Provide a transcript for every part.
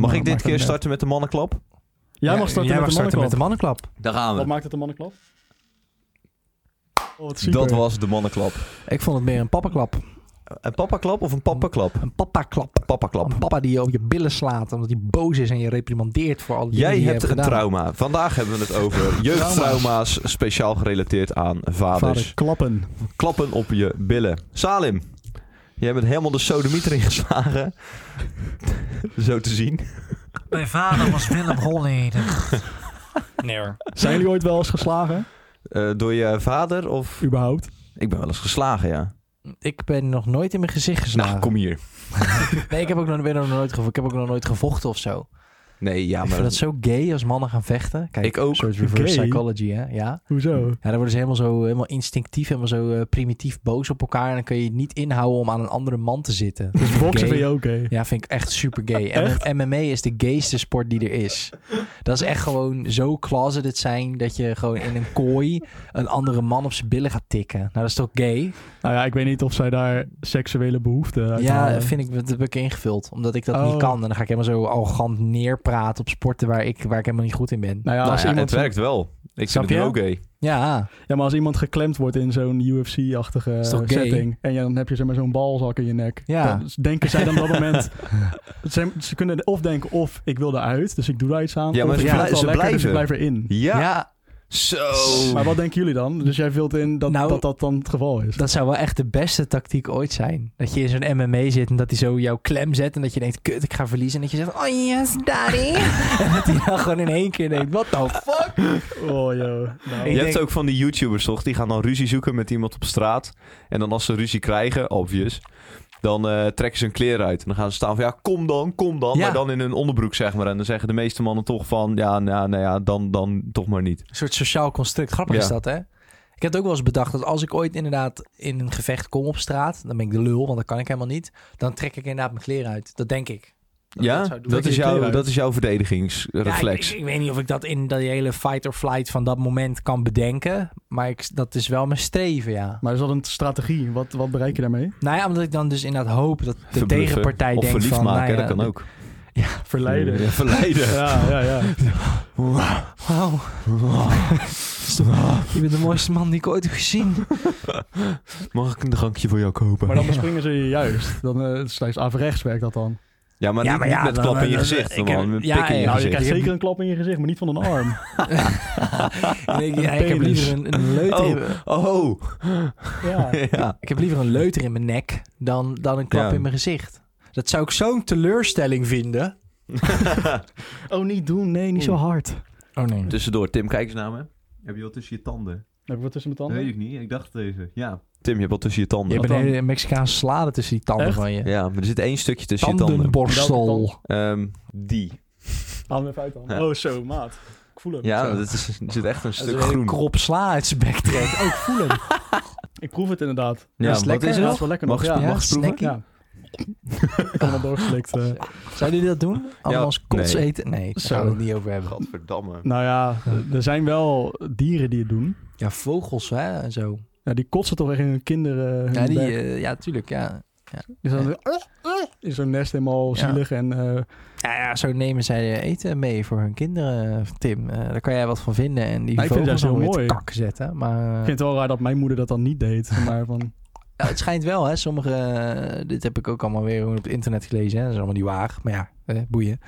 Mag Nou, ik dit maakt keer het starten met de mannenklap? Jij Ja, mag starten, jij met, mag de starten met de mannenklap. mannenklap. Daar gaan Wat we. maakt het een mannenklap? Oh, wat super. Dat was de mannenklap. Ik vond het meer een pappaklap. Een papaklap of een pappaklap? Een pappaklap. Pappaklap. Een papa die je op je billen slaat omdat hij boos is en je reprimandeert voor al die Jij dingen die je hebt een hebt gedaan. trauma. Vandaag hebben we het over jeugdtrauma's speciaal gerelateerd aan Vader, vaders. klappen. Klappen op je billen. Salim, jij bent helemaal de sodemieter ingeslagen. Zo te zien. Mijn vader was Willem Holleder. Nee hoor. Zijn jullie ooit wel eens geslagen? Eh, door je vader of... Überhaupt? Ik ben wel eens geslagen, ja. Ik ben nog nooit in mijn gezicht geslagen. Nou, kom hier. Nee, ik heb ook nog, ben nog nooit gevo- ik heb ook nog nooit gevochten of zo. Nee, ja, ik vind maar... dat zo gay als mannen gaan vechten. Kijk, Ik ook. Een soort reverse Gay? psychology, hè? Ja. Hoezo? Ja, dan worden ze helemaal zo helemaal instinctief, helemaal zo eh, primitief boos op elkaar. En dan kun je het niet inhouden om aan een andere man te zitten. Dus boksen Gay. vind je ook gay? Ja, vind ik echt super gay. Echt? En MMA is de gayste sport die er is. Dat is echt gewoon zo closeted zijn dat je gewoon in een kooi een andere man op zijn billen gaat tikken. Nou, dat is toch gay? Nou ja, ik weet niet of zij daar seksuele behoeften uit ja, halen. vind ik, dat heb ik ingevuld. Omdat ik dat Oh. niet kan. En dan ga ik helemaal zo arrogant neerpraten op sporten waar ik, waar ik helemaal niet goed in ben. Nou ja, Nou als ja, het iemand zo- werkt wel. Ik Snap vind het je? ook gay. Ja, Ja, maar als iemand geklemd wordt in zo'n UFC-achtige Is toch gay? setting... en ja, dan heb je zeg maar zo'n balzak in je nek... Ja. dan denken zij dan op dat moment... ze, ze kunnen of denken of ik wil eruit, dus ik doe daar iets aan... Ja, maar of ze ik vind blij- het ze wel lekker, dus ik blijven. blijf erin. Ja. ja. Zo. Maar wat denken jullie dan? Dus jij vult in dat Nou, dat, dat dan het geval is? dat zou wel echt de beste tactiek ooit zijn. Dat je in zo'n MMA zit en dat hij zo jouw klem zet. En dat je denkt, kut, ik ga verliezen. En dat je zegt, oh yes, daddy. en dat hij dan gewoon in één keer denkt, what the fuck? Oh, joh. Nou, Je Ik hebt denk- ook van die YouTubers, toch? Die gaan dan ruzie zoeken met iemand op straat. En dan als ze ruzie krijgen, obvious, dan eh, trekken ze hun kleren uit. En dan gaan ze staan van, ja, kom dan, kom dan. Ja. Maar dan in hun onderbroek, zeg maar. En dan zeggen de meeste mannen toch van, ja, nou, nou ja, dan, dan toch maar niet. Een soort sociaal construct. Grappig Ja. is dat, hè? Ik heb het ook wel eens bedacht dat als ik ooit inderdaad in een gevecht kom op straat, dan ben ik de lul, want dat kan ik helemaal niet. Dan trek ik inderdaad mijn kleren uit. Dat denk ik. Dat ik ja, dat zou dat, doen. is je kleren jouw, uit. dat is jouw verdedigingsreflex. Ja, ik, ik- ik weet niet of ik dat in die hele fight or flight van dat moment kan bedenken, maar ik, dat is wel mijn streven, ja. maar is dat een strategie? Wat, wat bereik je daarmee? Nou ja, omdat ik dan dus inderdaad hoop dat de Verbluffen. tegenpartij Of denkt verliefd van... maken, nou ja, dat kan ook. Verleiden. Ja, verleiden. Ja, ja, ja. Wauw. Je bent de mooiste man die ik ooit heb gezien. Mag ik een drankje voor jou kopen? Maar dan bespringen ze je juist. Dan eh, het is slechts averechts werkt dat dan. ja, maar Ja, niet, maar ja, niet met dan- klappen in je dan- gezicht. ik man. heb- Met ja, pik in je Nou, je ja, gezicht. krijgt Ik heb- zeker een klap in je gezicht, maar niet van een arm. Nee, ik, Een ik heb penis. liever een, een leuter... Oh. Oh, Ja. ja. Ik heb liever een leuter in mijn nek dan, dan een klap Ja. in mijn gezicht. Dat zou ik zo'n teleurstelling vinden. Oh, niet doen. Nee, niet zo hard. Dan Oh nee. Tussendoor, Tim, kijk eens naar me. Heb je al tussen je tanden? heb ik wat tussen mijn Dat tanden. weet ik niet. Ik dacht deze. Ja. Tim, je hebt wel tussen je je tanden. hebt dan? een hele Mexicaanse salade tussen die tanden Echt? van je. Ja, maar er zit één stukje tussen je tanden. Tandenborstel. Ehm, die. Haal hem even uit dan. Ja. Oh, zo, maat. Ik voel hem. Ja, Zo. dat is, er zit echt een Als een stuk hele groen. krop sla uit zijn bek trekt. Ook voelen. Ik proef het inderdaad. Ja, is wat lekker, is Ja, hè? dat het? is wel lekker Mag nog. Ja. je ja, eens proeven? snackie. Ja. ik heb hem al doorgeslikt. eh. Zouden jullie dat doen? Allemaal als kots nee. eten? Nee, daar Zo. gaan we het niet over hebben. Godverdamme. Nou ja, er zijn wel dieren die het doen. Ja, vogels hè, en zo. Ja, die kotsen toch echt in hun kinderen. hun Ja, die, bek. eh, ja tuurlijk, ja. Die zijn dan- "Eh, in zo'n nest helemaal Ja. zielig. En, eh, Ja, ja, zo nemen zij eh, eten mee voor hun kinderen, Tim. Eh, daar kan jij wat van vinden. En die Nou, ik vind vogels dat dan heel weer te mooi. kak zetten. Maar, eh, ik vind het wel raar dat mijn moeder dat dan niet deed. Maar van, Ja, het schijnt wel, hè. Sommige... eh, dit heb ik ook allemaal weer op het internet gelezen, hè. Dat is allemaal niet waar. Maar ja, eh, boeien.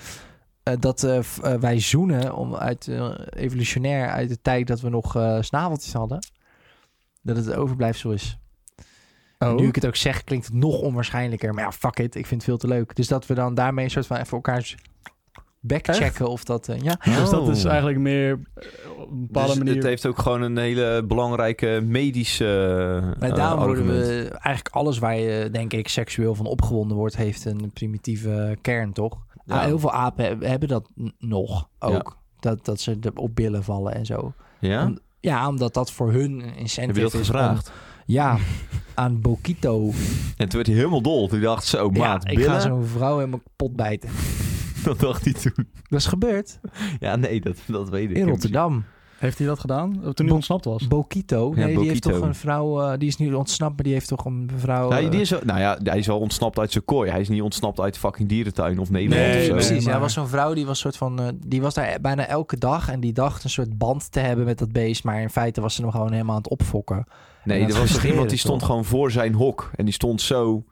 Eh, dat eh, f- eh, wij zoenen om uit, eh, evolutionair uit de tijd dat we nog eh, snaveltjes hadden. Dat het een overblijfsel is. En Nu ik het ook zeg, klinkt het nog onwaarschijnlijker. Maar ja, fuck it. Ik vind het veel te leuk. Dus dat we dan daarmee een soort van even elkaars backchecken of dat... eh, ja. Dus dat is Oh. eigenlijk meer eh, op een bepaalde Dus manier. het heeft ook gewoon een hele belangrijke medische Maar eh, daarom worden argument. we... Eigenlijk alles waar je, denk ik, seksueel van opgewonden wordt... heeft een primitieve kern, toch? Ja. Ah, heel veel apen heb- hebben dat n- nog ook. Dat, dat ze er op billen vallen en zo. Ja? Om- Ja, omdat dat voor hun een incentive Heb je dat is gevraagd? om- ja, aan Bokito. En toen werd hij helemaal dol. Toen dacht zo, ja, maat, ik ga billen? zo'n vrouw helemaal pot bijten. Dat dacht hij toen. Dat is gebeurd Ja, nee, dat, dat weet ik. in Rotterdam. Heeft hij dat gedaan? Eh, Toen Bo- hij ontsnapt was? Bokito. Ja, Nee, die heeft Bokito. toch een vrouw... eh, die is nu ontsnapt, maar die heeft toch een vrouw... Nou, eh, die is, wel- nou ja, hij is wel ontsnapt uit zijn kooi. Hij is niet ontsnapt uit fucking dierentuin of Nederland Nee, of zo. precies. nee, ja, maar- was zo'n vrouw die was soort van, eh, die was daar bijna elke dag en die dacht een soort band te hebben met dat beest, maar in feite was ze hem gewoon helemaal aan het opfokken. Nee, er En dat was toch frustreren iemand die toch? stond gewoon voor zijn hok. En die stond zo...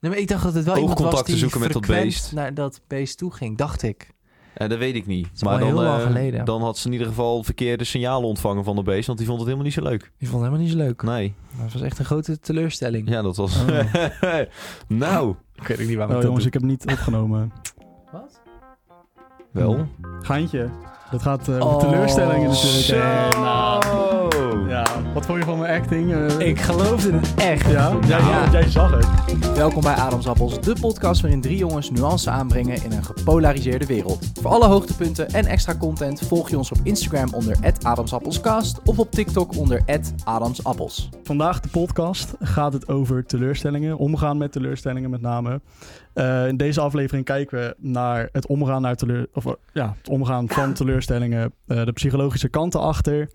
Nee, maar ik dacht dat het wel iemand was Oogcontact te die zoeken met dat frequent beest. naar dat beest toe ging, dacht ik. En eh, dat weet ik niet. is al heel dan, lang eh, geleden. dan had ze in ieder geval verkeerde signalen ontvangen van de beest. Want die vond het helemaal niet zo leuk. Die vond het helemaal niet zo leuk. Nee. Dat was echt een grote teleurstelling. Ja, dat was... Oh. nou, Ik weet Oh, ook niet waarom ik dat jongens, ik heb niet opgenomen. Wat? wel. Gaantje. Dat gaat eh Oh, om teleurstellingen natuurlijk. Zo. Eh, nou, ja. Wat vond je van mijn acting? eh? Ik geloofde het echt. Ja? Jij, Nou. jij zag het. Welkom bij Adamsappels, de podcast waarin drie jongens nuance aanbrengen in een gepolariseerde wereld. Voor alle hoogtepunten en extra content volg je ons op Instagram onder @adamsappelscast of op TikTok onder @adamsappels. Vandaag de podcast gaat het over teleurstellingen, omgaan met teleurstellingen met name. Eh, in deze aflevering kijken we naar het omgaan, naar teleur, of, eh, ja, het omgaan van teleurstellingen, eh, de psychologische kanten achter,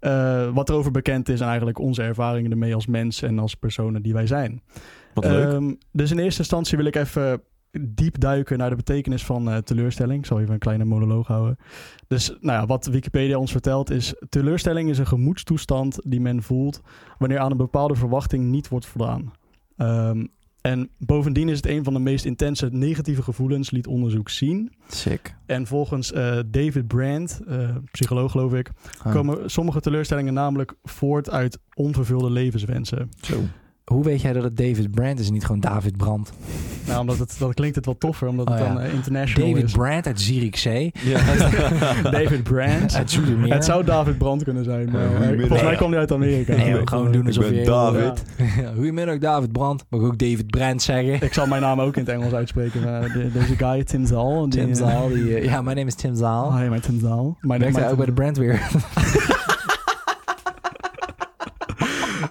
eh, wat erover bekend is en eigenlijk onze ervaringen ermee als mens en als personen die wij zijn. Wat Eh. leuk. Ehm, dus in eerste instantie wil ik even diep duiken naar de betekenis van eh, teleurstelling. Ik zal even een kleine monoloog houden. Dus nou ja, wat Wikipedia ons vertelt is... teleurstelling is een gemoedstoestand die men voelt... wanneer aan een bepaalde verwachting niet wordt voldaan. Ehm, en bovendien is het een van de meest intense negatieve gevoelens... liet onderzoek zien. Sick. En volgens eh, David Brand, eh, psycholoog geloof ik... Ah. Ehm, komen sommige teleurstellingen namelijk voort uit onvervulde levenswensen. Hoe weet jij dat het David Brandt is en niet gewoon David Brandt? Nou, omdat het, dan klinkt het wat toffer, omdat Oh het ja. dan eh, international David is. Brandt uit Zierikzee. David Brand. Uit Zoetermeer. Het zou David Brand kunnen zijn, maar Ja, eh, goedemiddag. volgens mij kwam hij uit Amerika. Dus, eh, Nee, joh, gewoon doen Ik alsof ben je... David. Ja, Goedemiddag, David Brandt. Mag ik ook David Brandt zeggen? Ik zal mijn naam ook in het Engels uitspreken. maar de- deze guy, Tim Zal. die- Tim Zaal. die, eh, Ja, mijn naam is Tim Zaal. Oh, hey, maar Tim Zal. Mijn Werkt mijn- hij ook bij de brand weer?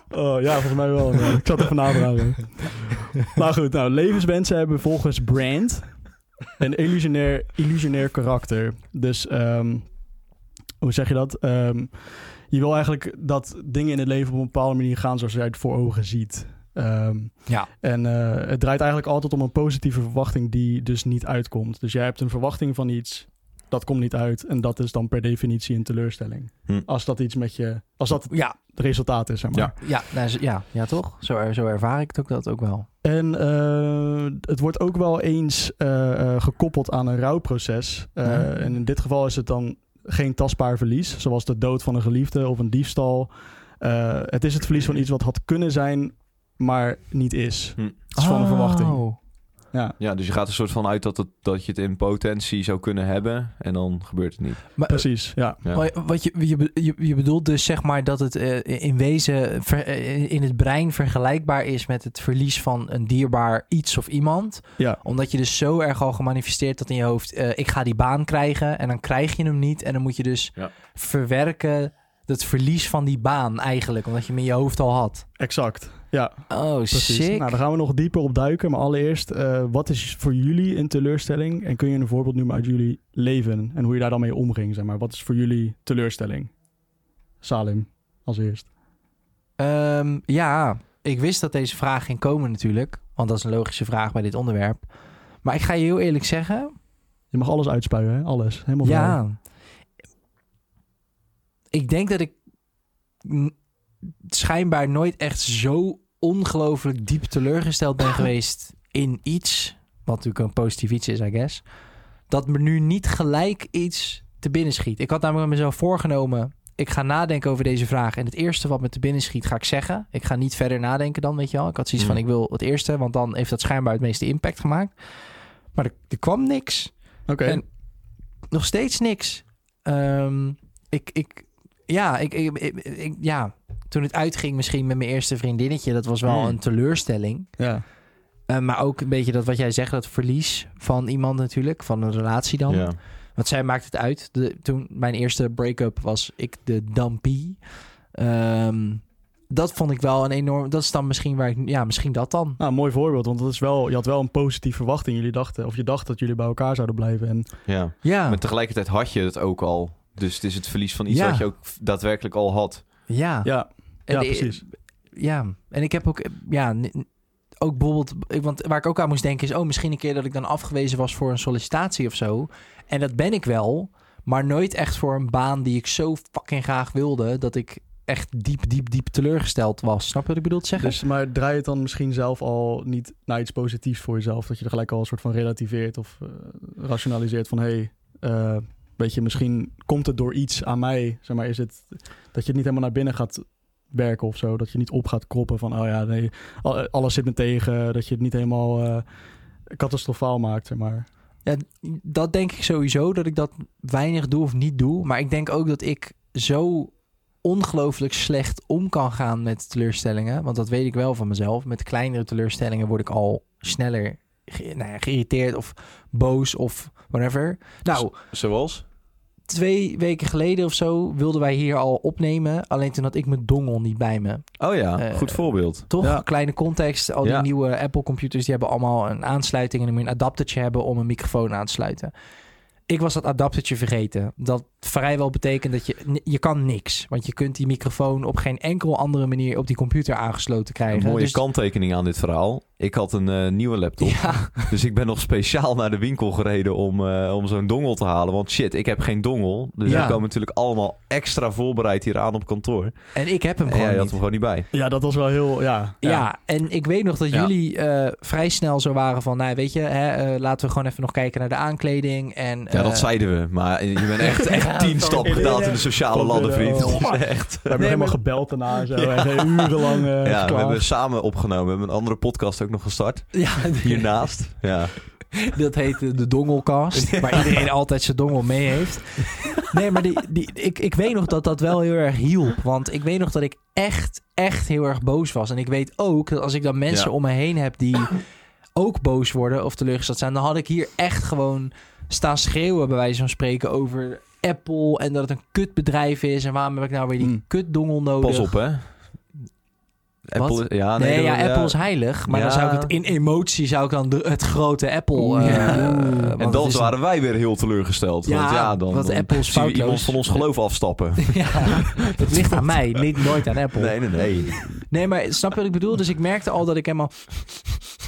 Oh, ja, volgens mij wel. ja. Ik zat even nadragen. nou goed, nou, levenswensen hebben volgens Brand een illusionair, illusionair karakter. Dus ehm, hoe zeg je dat? Ehm, je wil eigenlijk dat dingen in het leven op een bepaalde manier gaan zoals jij het voor ogen ziet. Ehm, Ja. En eh, het draait eigenlijk altijd om een positieve verwachting die dus niet uitkomt. Dus jij hebt een verwachting van iets, dat komt niet uit. En dat is dan per definitie een teleurstelling. Hm. Als dat iets met je, als dat Ja, het resultaat is, zeg maar. Ja. Ja, nou, zo- ja, ja toch? Zo, er- zo ervaar ik het ook, dat ook wel. En eh, het wordt ook wel eens eh, eh, gekoppeld aan een rouwproces. Eh, Ja. En in dit geval is het dan geen tastbaar verlies, zoals de dood van een geliefde of een diefstal. Eh, het is het verlies van iets wat had kunnen zijn, maar niet is. Hm. Het is gewoon Oh. een verwachting. Ja. Ja, dus je gaat er soort van uit dat, het, dat je het in potentie zou kunnen hebben. En dan gebeurt het niet. Maar, eh, Precies, ja. Ja. maar wat je, je, be- je, je bedoelt dus zeg maar dat het eh, in wezen ver- eh, in het brein vergelijkbaar is met het verlies van een dierbaar iets of iemand. Ja. Omdat je dus zo erg al gemanifesteerd dat in je hoofd, eh, ik ga die baan krijgen en dan krijg je hem niet. En dan moet je dus Ja. verwerken dat verlies van die baan eigenlijk, omdat je hem in je hoofd al had. Exact. Ja, Oh, precies. sick. Nou, daar gaan we nog dieper op duiken. Maar allereerst, eh, wat is voor jullie een teleurstelling? En kun je een voorbeeld noemen uit jullie leven? En hoe je daar dan mee omging, zeg maar. Wat is voor jullie teleurstelling? Salim, als eerst. Ehm, ja, ik wist dat deze vraag ging komen natuurlijk. Want dat is een logische vraag bij dit onderwerp. Maar ik ga je heel eerlijk zeggen. Je mag alles uitspuien, hè? Alles. Helemaal vrij. Ja. Ik denk dat ik n- schijnbaar nooit echt zo ongelooflijk diep teleurgesteld ben geweest in iets. Wat natuurlijk een positief iets is, I guess. Dat me nu niet gelijk iets te binnen schiet. Ik had namelijk mezelf voorgenomen. Ik ga nadenken over deze vraag. En het eerste wat me te binnen schiet, ga ik zeggen. Ik ga niet verder nadenken dan, weet je wel. Ik had zoiets Mm. van, ik wil het eerste. Want dan heeft dat schijnbaar het meeste impact gemaakt. Maar er, er kwam niks. Oké. En- Nog steeds niks. Ehm, ik, ik, ja, ik, ik, ik- ik- ja, toen het uitging misschien met mijn eerste vriendinnetje. Dat was wel Mm. een teleurstelling. Ja. Eh, maar ook een beetje dat wat jij zegt, dat verlies van iemand natuurlijk. Van een relatie dan. Ja. Want zij maakt het uit. De, toen mijn eerste break-up was ik de dumpie. Ehm, dat vond ik wel een enorm... Dat is dan misschien waar ik... Ja, misschien dat dan. Nou, mooi voorbeeld. Want dat is wel, je had wel een positieve verwachting. Jullie dachten, of je dacht dat jullie bij elkaar zouden blijven. En ja. Ja. Maar tegelijkertijd had je het ook al Dus het is het verlies van iets Ja. wat je ook daadwerkelijk al had. Ja. Ja, En ja de- precies. Ja, en ik heb ook, eh, ja, n- n- ook bijvoorbeeld, ik- want waar ik ook aan moest denken is, oh, misschien een keer dat ik dan afgewezen was voor een sollicitatie of zo. En dat ben ik wel, maar nooit echt voor een baan die ik zo fucking graag wilde, dat ik echt diep, diep, diep teleurgesteld was. Snap je wat ik bedoel te zeggen? Dus, maar draai het dan misschien zelf al niet naar iets positiefs voor jezelf? Dat je er gelijk al een soort van relativeert of eh, rationaliseert van... hé, hey, eh, weet je, misschien komt het door iets aan mij. Zeg maar, is het dat je het niet helemaal naar binnen gaat werken of zo? Dat je niet op gaat kroppen van, oh ja, nee, al- alles zit me tegen. Dat je het niet helemaal eh catastrofaal maakt, zeg maar. Ja, dat denk ik sowieso, dat ik dat weinig doe of niet doe. Maar ik denk ook dat ik zo ongelooflijk slecht om kan gaan met teleurstellingen. Want dat weet ik wel van mezelf. Met kleinere teleurstellingen word ik al sneller ge- nou ja, geïrriteerd of boos of whatever. Nou, Zoals? twee weken geleden of zo wilden wij hier al opnemen. Alleen toen had ik mijn dongel niet bij me. Oh ja, Eh, goed voorbeeld. Toch? Ja. Kleine context. Al die Ja. nieuwe Apple-computers die hebben allemaal een aansluiting. En dan moet je een adaptertje hebben om een microfoon aan te sluiten. Ik was dat adaptertje vergeten. Dat vrijwel betekent dat je... n- Je kan niks. Want je kunt die microfoon op geen enkel andere manier... op die computer aangesloten Een krijgen. mooie Dus- kanttekening aan dit verhaal. Ik had een eh, nieuwe laptop. Ja, Dus ik ben nog speciaal naar de winkel gereden om, eh, om zo'n dongel te halen. Want shit, ik heb geen dongel. Dus Ja. ik kwam natuurlijk allemaal extra voorbereid hier aan op kantoor. en ik heb hem En gewoon jij had hem niet. gewoon niet bij. Ja, dat was wel heel, ja. Ja. en ik weet nog dat Ja. jullie eh, vrij snel zo waren van... Nou, weet je, hè, eh, laten we gewoon even nog kijken naar de aankleding. En, Ja, dat eh, zeiden we. Maar je bent echt, echt tien stappen gedaald in de sociale ladder, vriend. Oh. Dat is echt... We hebben nog Nee, maar- helemaal gebeld daarna. en Zo, echt urenlang. eh, Ja, we klaar. hebben samen opgenomen. We hebben een andere podcast ook nog gestart. Ja, Hiernaast. Ja. Dat heet eh, de dongelkast. Waar iedereen altijd zijn dongel mee heeft. Nee, maar die, die, ik, ik weet nog dat dat wel heel erg hielp. Want ik weet nog dat ik echt, echt heel erg boos was. En ik weet ook dat als ik dan mensen Ja. om me heen heb die ook boos worden of teleurgesteld zijn, dan had ik hier echt gewoon staan schreeuwen, bij wijze van spreken, over Apple en dat het een kutbedrijf is. En waarom heb ik nou weer die Mm. kutdongel nodig? Hmm. Oh, Pas op, hè. Apple, is- ja, Nee, nee, ja, dat- Apple is heilig. Maar dan Ja. zou ik het in emotie zou ik dan de- het grote Apple. eh, Ja. eh, want En het dan is waren wij weer heel teleurgesteld. want ja, dan, wat dan Apple is zien we foutloos. iemand van ons geloof afstappen. Ja, het ligt aan mij, niet nooit aan Apple. Nee. Nee, nee, nee. maar snap je wat ik bedoel? Dus ik merkte al dat ik helemaal...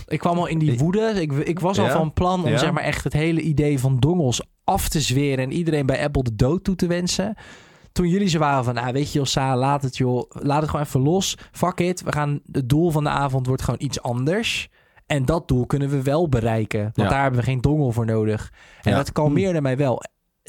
Ik kwam al in die woede. Ik, ik was al Ja? van plan om Ja? zeg maar echt het hele idee van dongels af te zweren... en iedereen bij Apple de dood toe te wensen. Toen jullie ze waren van, ah, weet je joh, Sa, laat het joh. Laat het gewoon even los. Fuck it. We gaan, het doel van de avond wordt gewoon iets anders. En dat doel kunnen we wel bereiken. Want Ja. daar hebben we geen dongel voor nodig. En Ja. dat kalmeerde mij wel.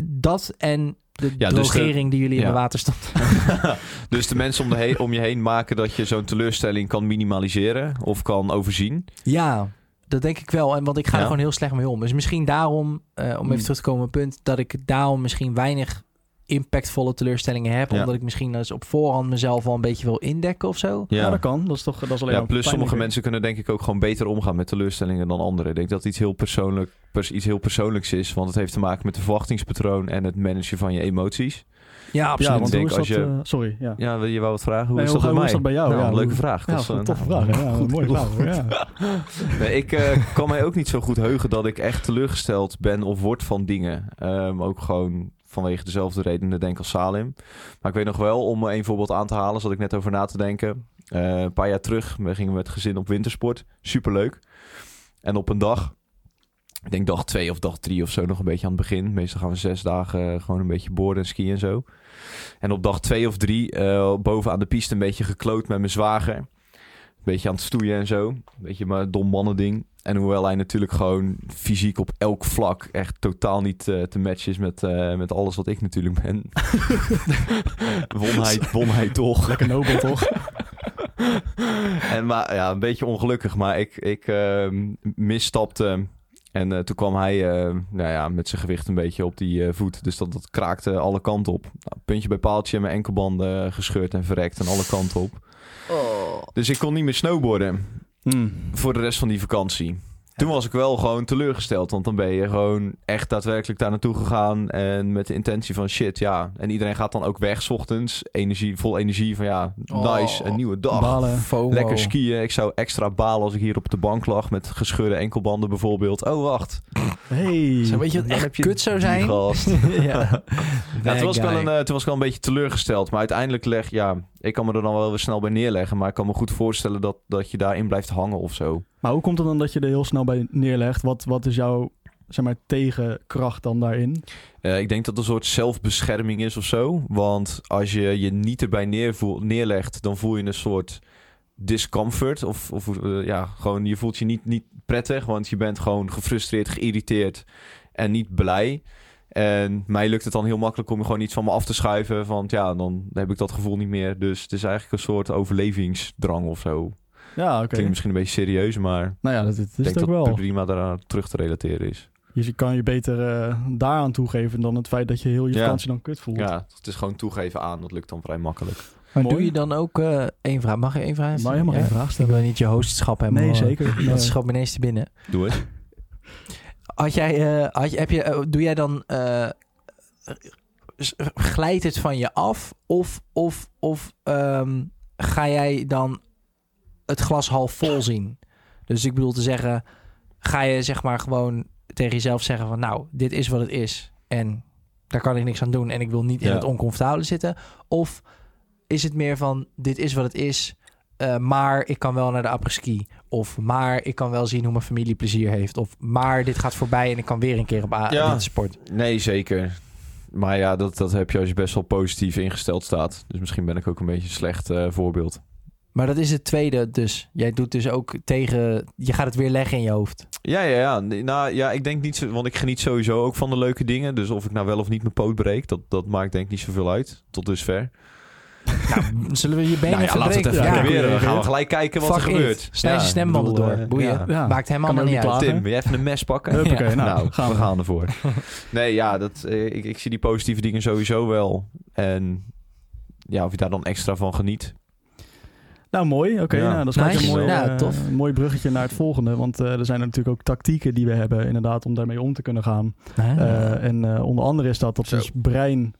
Dat en de Ja, dus de- drogering die jullie in ja. de water stonden. Dus de mensen om, de he- om je heen maken dat je zo'n teleurstelling kan minimaliseren of kan overzien. Ja, dat denk ik wel. En want ik ga er Ja. gewoon heel slecht mee om. Dus misschien daarom, eh, om even Mm. terug te komen op het punt, dat ik daarom misschien weinig impactvolle teleurstellingen heb. Ja. Omdat ik misschien eens op voorhand mezelf al een beetje wil indekken of zo. Ja. dat kan. Dat is toch dat is alleen Ja, maar plus sommige pijnlijker. mensen kunnen denk ik ook gewoon beter omgaan met teleurstellingen dan anderen. Ik denk dat het iets heel, persoonlijk, pers- iets heel persoonlijks is, want het heeft te maken met de verwachtingspatroon en het managen van je emoties. Ja, Ja, absoluut. want Ik hoe denk is dat... als je- eh, sorry, ja. Ja, wil je wou wat vragen? Hoe Nee, is hoe dat bij ga- hoe mij? is dat bij jou? Nou, Ja, leuke hoe- vraag. Ja, Dat is goed, een- toffe nou, vraag. hè? Ja, mooie goed. vraag. hoor, Ja. Nee, ik eh, kan mij ook niet zo goed heugen dat ik echt teleurgesteld ben of word van dingen. Ehm, ook gewoon vanwege dezelfde redenen denk ik als Salim. Maar ik weet nog wel, om een voorbeeld aan te halen, zat ik net over na te denken. Eh, een paar jaar terug we gingen we met gezin op wintersport. Superleuk. En op een dag, ik denk dag twee of dag drie of zo, nog een beetje aan het begin. Meestal gaan we zes dagen eh, gewoon een beetje boorden en skiën en zo. En op dag twee of drie, eh boven aan de piste, een beetje gekloot met mijn zwager. Een beetje aan het stoeien en zo. Een beetje maar dom mannen ding. En hoewel hij natuurlijk gewoon fysiek op elk vlak echt totaal niet eh, te matchen is met, eh, met alles wat ik natuurlijk ben. won, hij, won hij toch. Lekker nobel, toch? En maar ja, een beetje ongelukkig, maar ik, ik ehm, misstapte. En eh, toen kwam hij eh, nou ja, met zijn gewicht een beetje op die eh, voet. Dus dat, dat kraakte alle kanten op. Nou, puntje bij paaltje, mijn enkelbanden eh, gescheurd en verrekt en alle kanten op. Dus ik kon niet meer snowboarden Mm. voor de rest van die vakantie. Toen was ik wel gewoon teleurgesteld. Want dan ben je gewoon echt daadwerkelijk daar naartoe gegaan. En met de intentie van shit, ja. En iedereen gaat dan ook weg, 's ochtends. Energie, vol energie van ja, Oh. nice, een nieuwe dag. Balen. FOMO. Lekker skiën. Ik zou extra balen als ik hier op de bank lag met gescheurde enkelbanden bijvoorbeeld. Oh, wacht. Hey. Zo, weet je wat Dan echt heb je kut zou die zijn? gast. ja. Ja, toen, was ik wel Bad een, guy. eh, toen was ik wel een beetje teleurgesteld. Maar uiteindelijk leg ja, ik kan me er dan wel weer snel bij neerleggen. Maar ik kan me goed voorstellen dat, dat je daarin blijft hangen of zo. Maar hoe komt het dan dat je er heel snel bij neerlegt? Wat, wat is jouw zeg maar, tegenkracht dan daarin? Eh, ik denk dat het een soort zelfbescherming is of zo. Want als je je niet erbij neervoel- neerlegt, dan voel je een soort discomfort. Of, of eh, ja, gewoon je voelt je niet, niet prettig, want je bent gewoon gefrustreerd, geïrriteerd en niet blij. En mij lukt het dan heel makkelijk om je gewoon iets van me af te schuiven. Want ja, dan heb ik dat gevoel niet meer. Dus het is eigenlijk een soort overlevingsdrang of zo. Ja, oké. Klinkt misschien een beetje serieus, maar ik Nou ja, dat, dat is denk het ook dat het wel. prima daaraan terug te relateren is. Je kan je beter eh, daaraan toegeven dan het feit dat je heel je Ja. vakantie dan kut voelt. Ja, het is gewoon toegeven aan. Dat lukt dan vrij makkelijk. Maar Doe mooi. je dan ook eh één vraag? Mag je één vraag Nou, je mag Ja? één vraag Ik stellen. wil niet je hostschap hebben. Nee, hoor. zeker. Nee. Dat schat me ineens te binnen. Doe het. Had jij, eh, had je, heb je, eh, doe jij dan, eh, s- glijdt het van je af? Of, of, of ehm, ga jij dan het glas half vol zien? Dus ik bedoel te zeggen, ga je zeg maar gewoon tegen jezelf zeggen van nou, dit is wat het is. En daar kan ik niks aan doen en ik wil niet in Ja. het oncomfortabele zitten. Of is het meer van dit is wat het is, eh, maar ik kan wel naar de apres-ski. Of maar ik kan wel zien hoe mijn familie plezier heeft. Of maar dit gaat voorbij en ik kan weer een keer op a- Ja. sport. Nee, zeker. Maar ja, dat, dat heb je als je best wel positief ingesteld staat. Dus misschien ben ik ook een beetje een slecht eh, voorbeeld. Maar dat is het tweede dus. Jij doet dus ook tegen... Je gaat het weer leggen in je hoofd. Ja, ja, ja. Nee, Nou, ja, ik denk niet... zo- Want ik geniet sowieso ook van de leuke dingen. Dus of ik nou wel of niet mijn poot breek, dat, dat maakt denk ik niet zoveel uit. Tot dusver. Zullen we je benen nou ja, laten we het verbreken? even Ja, proberen. goeie Dan gaan we idee. gelijk kijken wat Fuck er it. gebeurt. Snij je stembanden ik bedoel, door. eh, Boeien. ja. Ja. Maakt helemaal Kan ook niet niet uit. laten. Tim, wil je even een mes pakken? Huppakee, Ja. nou, gaan we we. gaan ervoor. nee, ja, dat, eh, ik, ik zie die positieve dingen sowieso wel. En ja, of je daar dan extra van geniet. Nou, mooi. Oké, Ja. nou, dat is gelijk Nice. een mooi, Ja, eh, tof. een mooi bruggetje naar het volgende. Want eh, er zijn natuurlijk ook tactieken die we hebben inderdaad om daarmee om te kunnen gaan. Hè? Eh, en eh, onder andere is dat dat Zo. ons brein...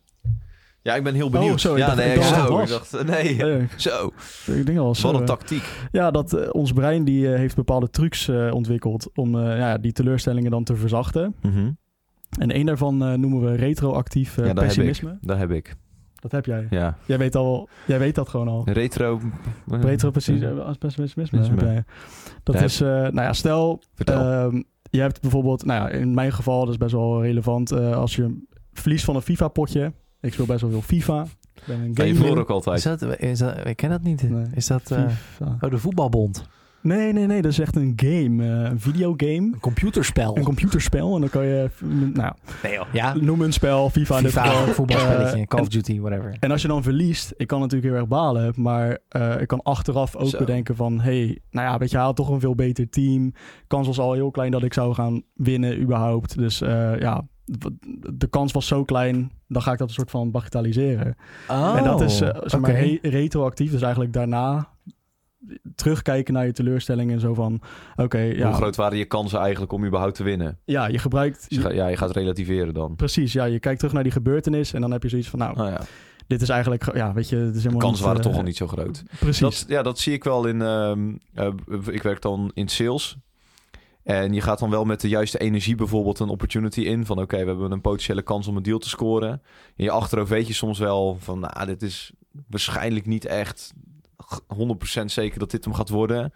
Ja, ik ben heel benieuwd. zo, Oh, ik ja, dacht- nee, ik dacht dat zo, was. ik dacht, nee. Eh, Zo, ik denk al wel zo, wat een eh. tactiek. Ja, dat eh, ons brein die eh, heeft bepaalde trucs eh, ontwikkeld om eh, ja, die teleurstellingen dan te verzachten. En één daarvan eh, noemen we retroactief eh, Ja, dat heb pessimisme. ik. Dat heb ik, Dat heb jij. ja. Jij weet, al, jij weet dat gewoon al. Retro... Retro precies, eh, als pessimisme heb Pessimisme. jij. Dat Ja, is, eh, nou ja, stel, Vertel. ehm, je hebt bijvoorbeeld, nou ja, in mijn geval, dat is best wel relevant, eh, als je verliest van een FIFA-potje. Ik speel best wel veel FIFA. Ik ben een Nee, je game verloor ook altijd. Is dat, is dat, ik ken dat niet. Nee. Is dat... eh, FIFA. oh, de voetbalbond. Nee, nee, nee, dat is echt een game, eh, een videogame. Een computerspel. Een computerspel en dan kan je, nou, nee joh. Ja. noem een spel, FIFA, in dit Ah. FIFA, geval. voetbalspelletje, Eh, Call of en- Duty, whatever. En als je dan verliest, ik kan natuurlijk heel erg balen, maar eh, ik kan achteraf ook Zo. bedenken van, hey, nou ja, weet je, hij had toch een veel beter team. Kans was al heel klein dat ik zou gaan winnen überhaupt. Dus eh, ja, w- de kans was zo klein, dan ga ik dat een soort van bagatelliseren. Oh, en dat is eh, zeg maar oké. re- retroactief, dus eigenlijk daarna terugkijken naar je teleurstelling en zo van, oké, Hoe ja, groot waren je kansen eigenlijk om überhaupt te winnen? ja, je gebruikt... Dus je gaat- ja, je gaat relativeren dan. Precies, ja, je kijkt terug naar die gebeurtenis en dan heb je zoiets van, nou, Nou ja, dit is eigenlijk, ge- ja, weet je, het is helemaal de kansen waren toch eh, al niet zo groot. Precies. Dat, ja, dat zie ik wel in. ehm, eh, ik werk dan in sales. En je gaat dan wel met de juiste energie bijvoorbeeld een opportunity in. Van oké, we hebben een potentiële kans om een deal te scoren. In je achterhoofd weet je soms wel van, nou, dit is waarschijnlijk niet echt 100% zeker dat dit hem gaat worden.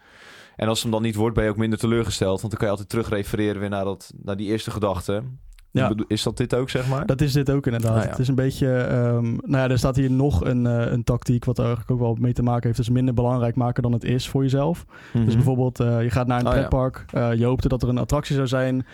En als het hem dan niet wordt, ben je ook minder teleurgesteld. Want dan kan je altijd terugrefereren weer naar, dat, naar die eerste gedachte. Ja. Ik bedoel, Is dat dit ook, zeg maar? Dat is dit ook inderdaad. Nou ja. Het is een beetje. ehm, nou ja, er staat hier nog een, eh, een tactiek. wat er eigenlijk ook wel mee te maken heeft. Dus minder belangrijk maken dan het is voor jezelf. Mhm. Dus bijvoorbeeld, eh, je gaat naar een Oh ja. pretpark. eh, je hoopte dat er een attractie zou zijn.